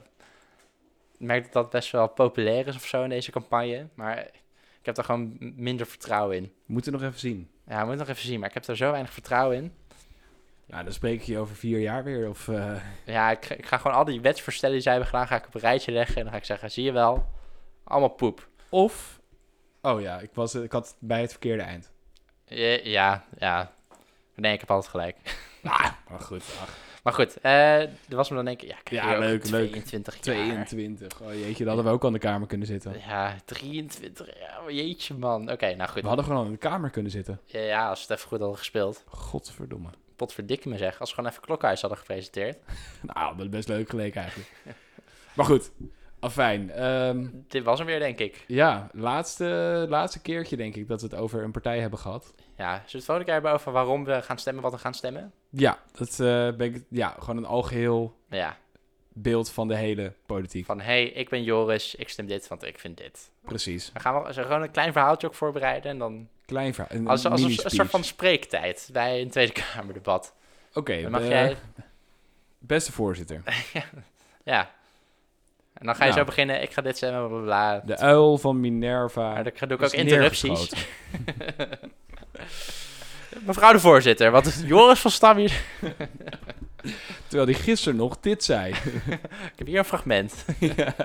S1: merk dat dat best wel populair is of zo in deze campagne, maar ik heb daar gewoon m- minder vertrouwen in.
S2: Moeten we nog even zien.
S1: Ja, moet nog even zien, maar ik heb daar zo weinig vertrouwen in.
S2: Ja, dan spreek ik je over vier jaar weer. Of, eh,
S1: Ja, ik, ga- ik ga gewoon al die wetsvoorstellen die zij hebben gedaan, ga ik op een rijtje leggen en dan ga ik zeggen, zie je wel, allemaal poep.
S2: of... Oh ja, ik, was, ik had bij het verkeerde eind.
S1: Ja, ja, ja. Nee, ik heb altijd gelijk.
S2: Maar goed, ach,
S1: Maar goed, eh er was me dan denk ik, ja, kijk,
S2: Ja,
S1: hier ook
S2: leuk, leuk.
S1: 22 jaar.
S2: 22. Oh jeetje, dat hadden we ook aan de kamer kunnen zitten.
S1: Ja, 23. Ja, oh, jeetje man. Oké, nou goed.
S2: We hadden gewoon aan de kamer kunnen zitten.
S1: Ja, ja, als we het even goed hadden gespeeld.
S2: Godverdomme.
S1: Potverdikke me zeg. Als we gewoon even Klokhuis hadden gepresenteerd.
S2: Nou, dat is best leuk geleek eigenlijk. maar goed, afijn. Ehm,
S1: Dit was hem weer, denk ik.
S2: ja, laatste, laatste keertje denk ik dat we het over een partij hebben gehad.
S1: Ja, zullen we het volgende keer hebben over waarom we gaan stemmen, wat we gaan stemmen?
S2: Ja, dat eh, ben ik, ja, gewoon een algeheel
S1: Nou Ja,
S2: beeld van de hele politiek.
S1: van hey, ik ben Joris, ik stem dit, want ik vind dit.
S2: Precies.
S1: Dan gaan we zullen we gewoon een klein verhaaltje ook voorbereiden en dan...
S2: Klein verhaal. Een
S1: Als, als een, een
S2: mini-speech.
S1: soort van spreektijd bij een Tweede Kamerdebat.
S2: Oké,
S1: Dan mag
S2: eh,
S1: jij...
S2: beste voorzitter.
S1: Ja. En dan ga je
S2: Nou.
S1: zo beginnen, ik ga dit stemmen, bla bla bla.
S2: De uil van
S1: Maar
S2: Minerva.
S1: dan doe ik
S2: is
S1: ook interrupties.
S2: neergeschoten.
S1: Mevrouw de voorzitter, wat is Joris van Stam hier?
S2: Terwijl die gisteren nog dit zei.
S1: Ik heb hier een fragment.
S2: Ja.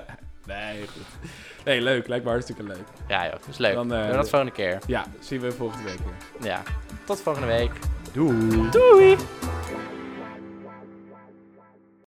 S2: Nee, goed. Nee, leuk. Lijkt me hartstikke leuk.
S1: Ja joh, is leuk.
S2: Dan, eh,
S1: Doen we dat volgende keer.
S2: Ja, zien we volgende week weer.
S1: Ja. Tot volgende week.
S2: Doei.
S1: Doei!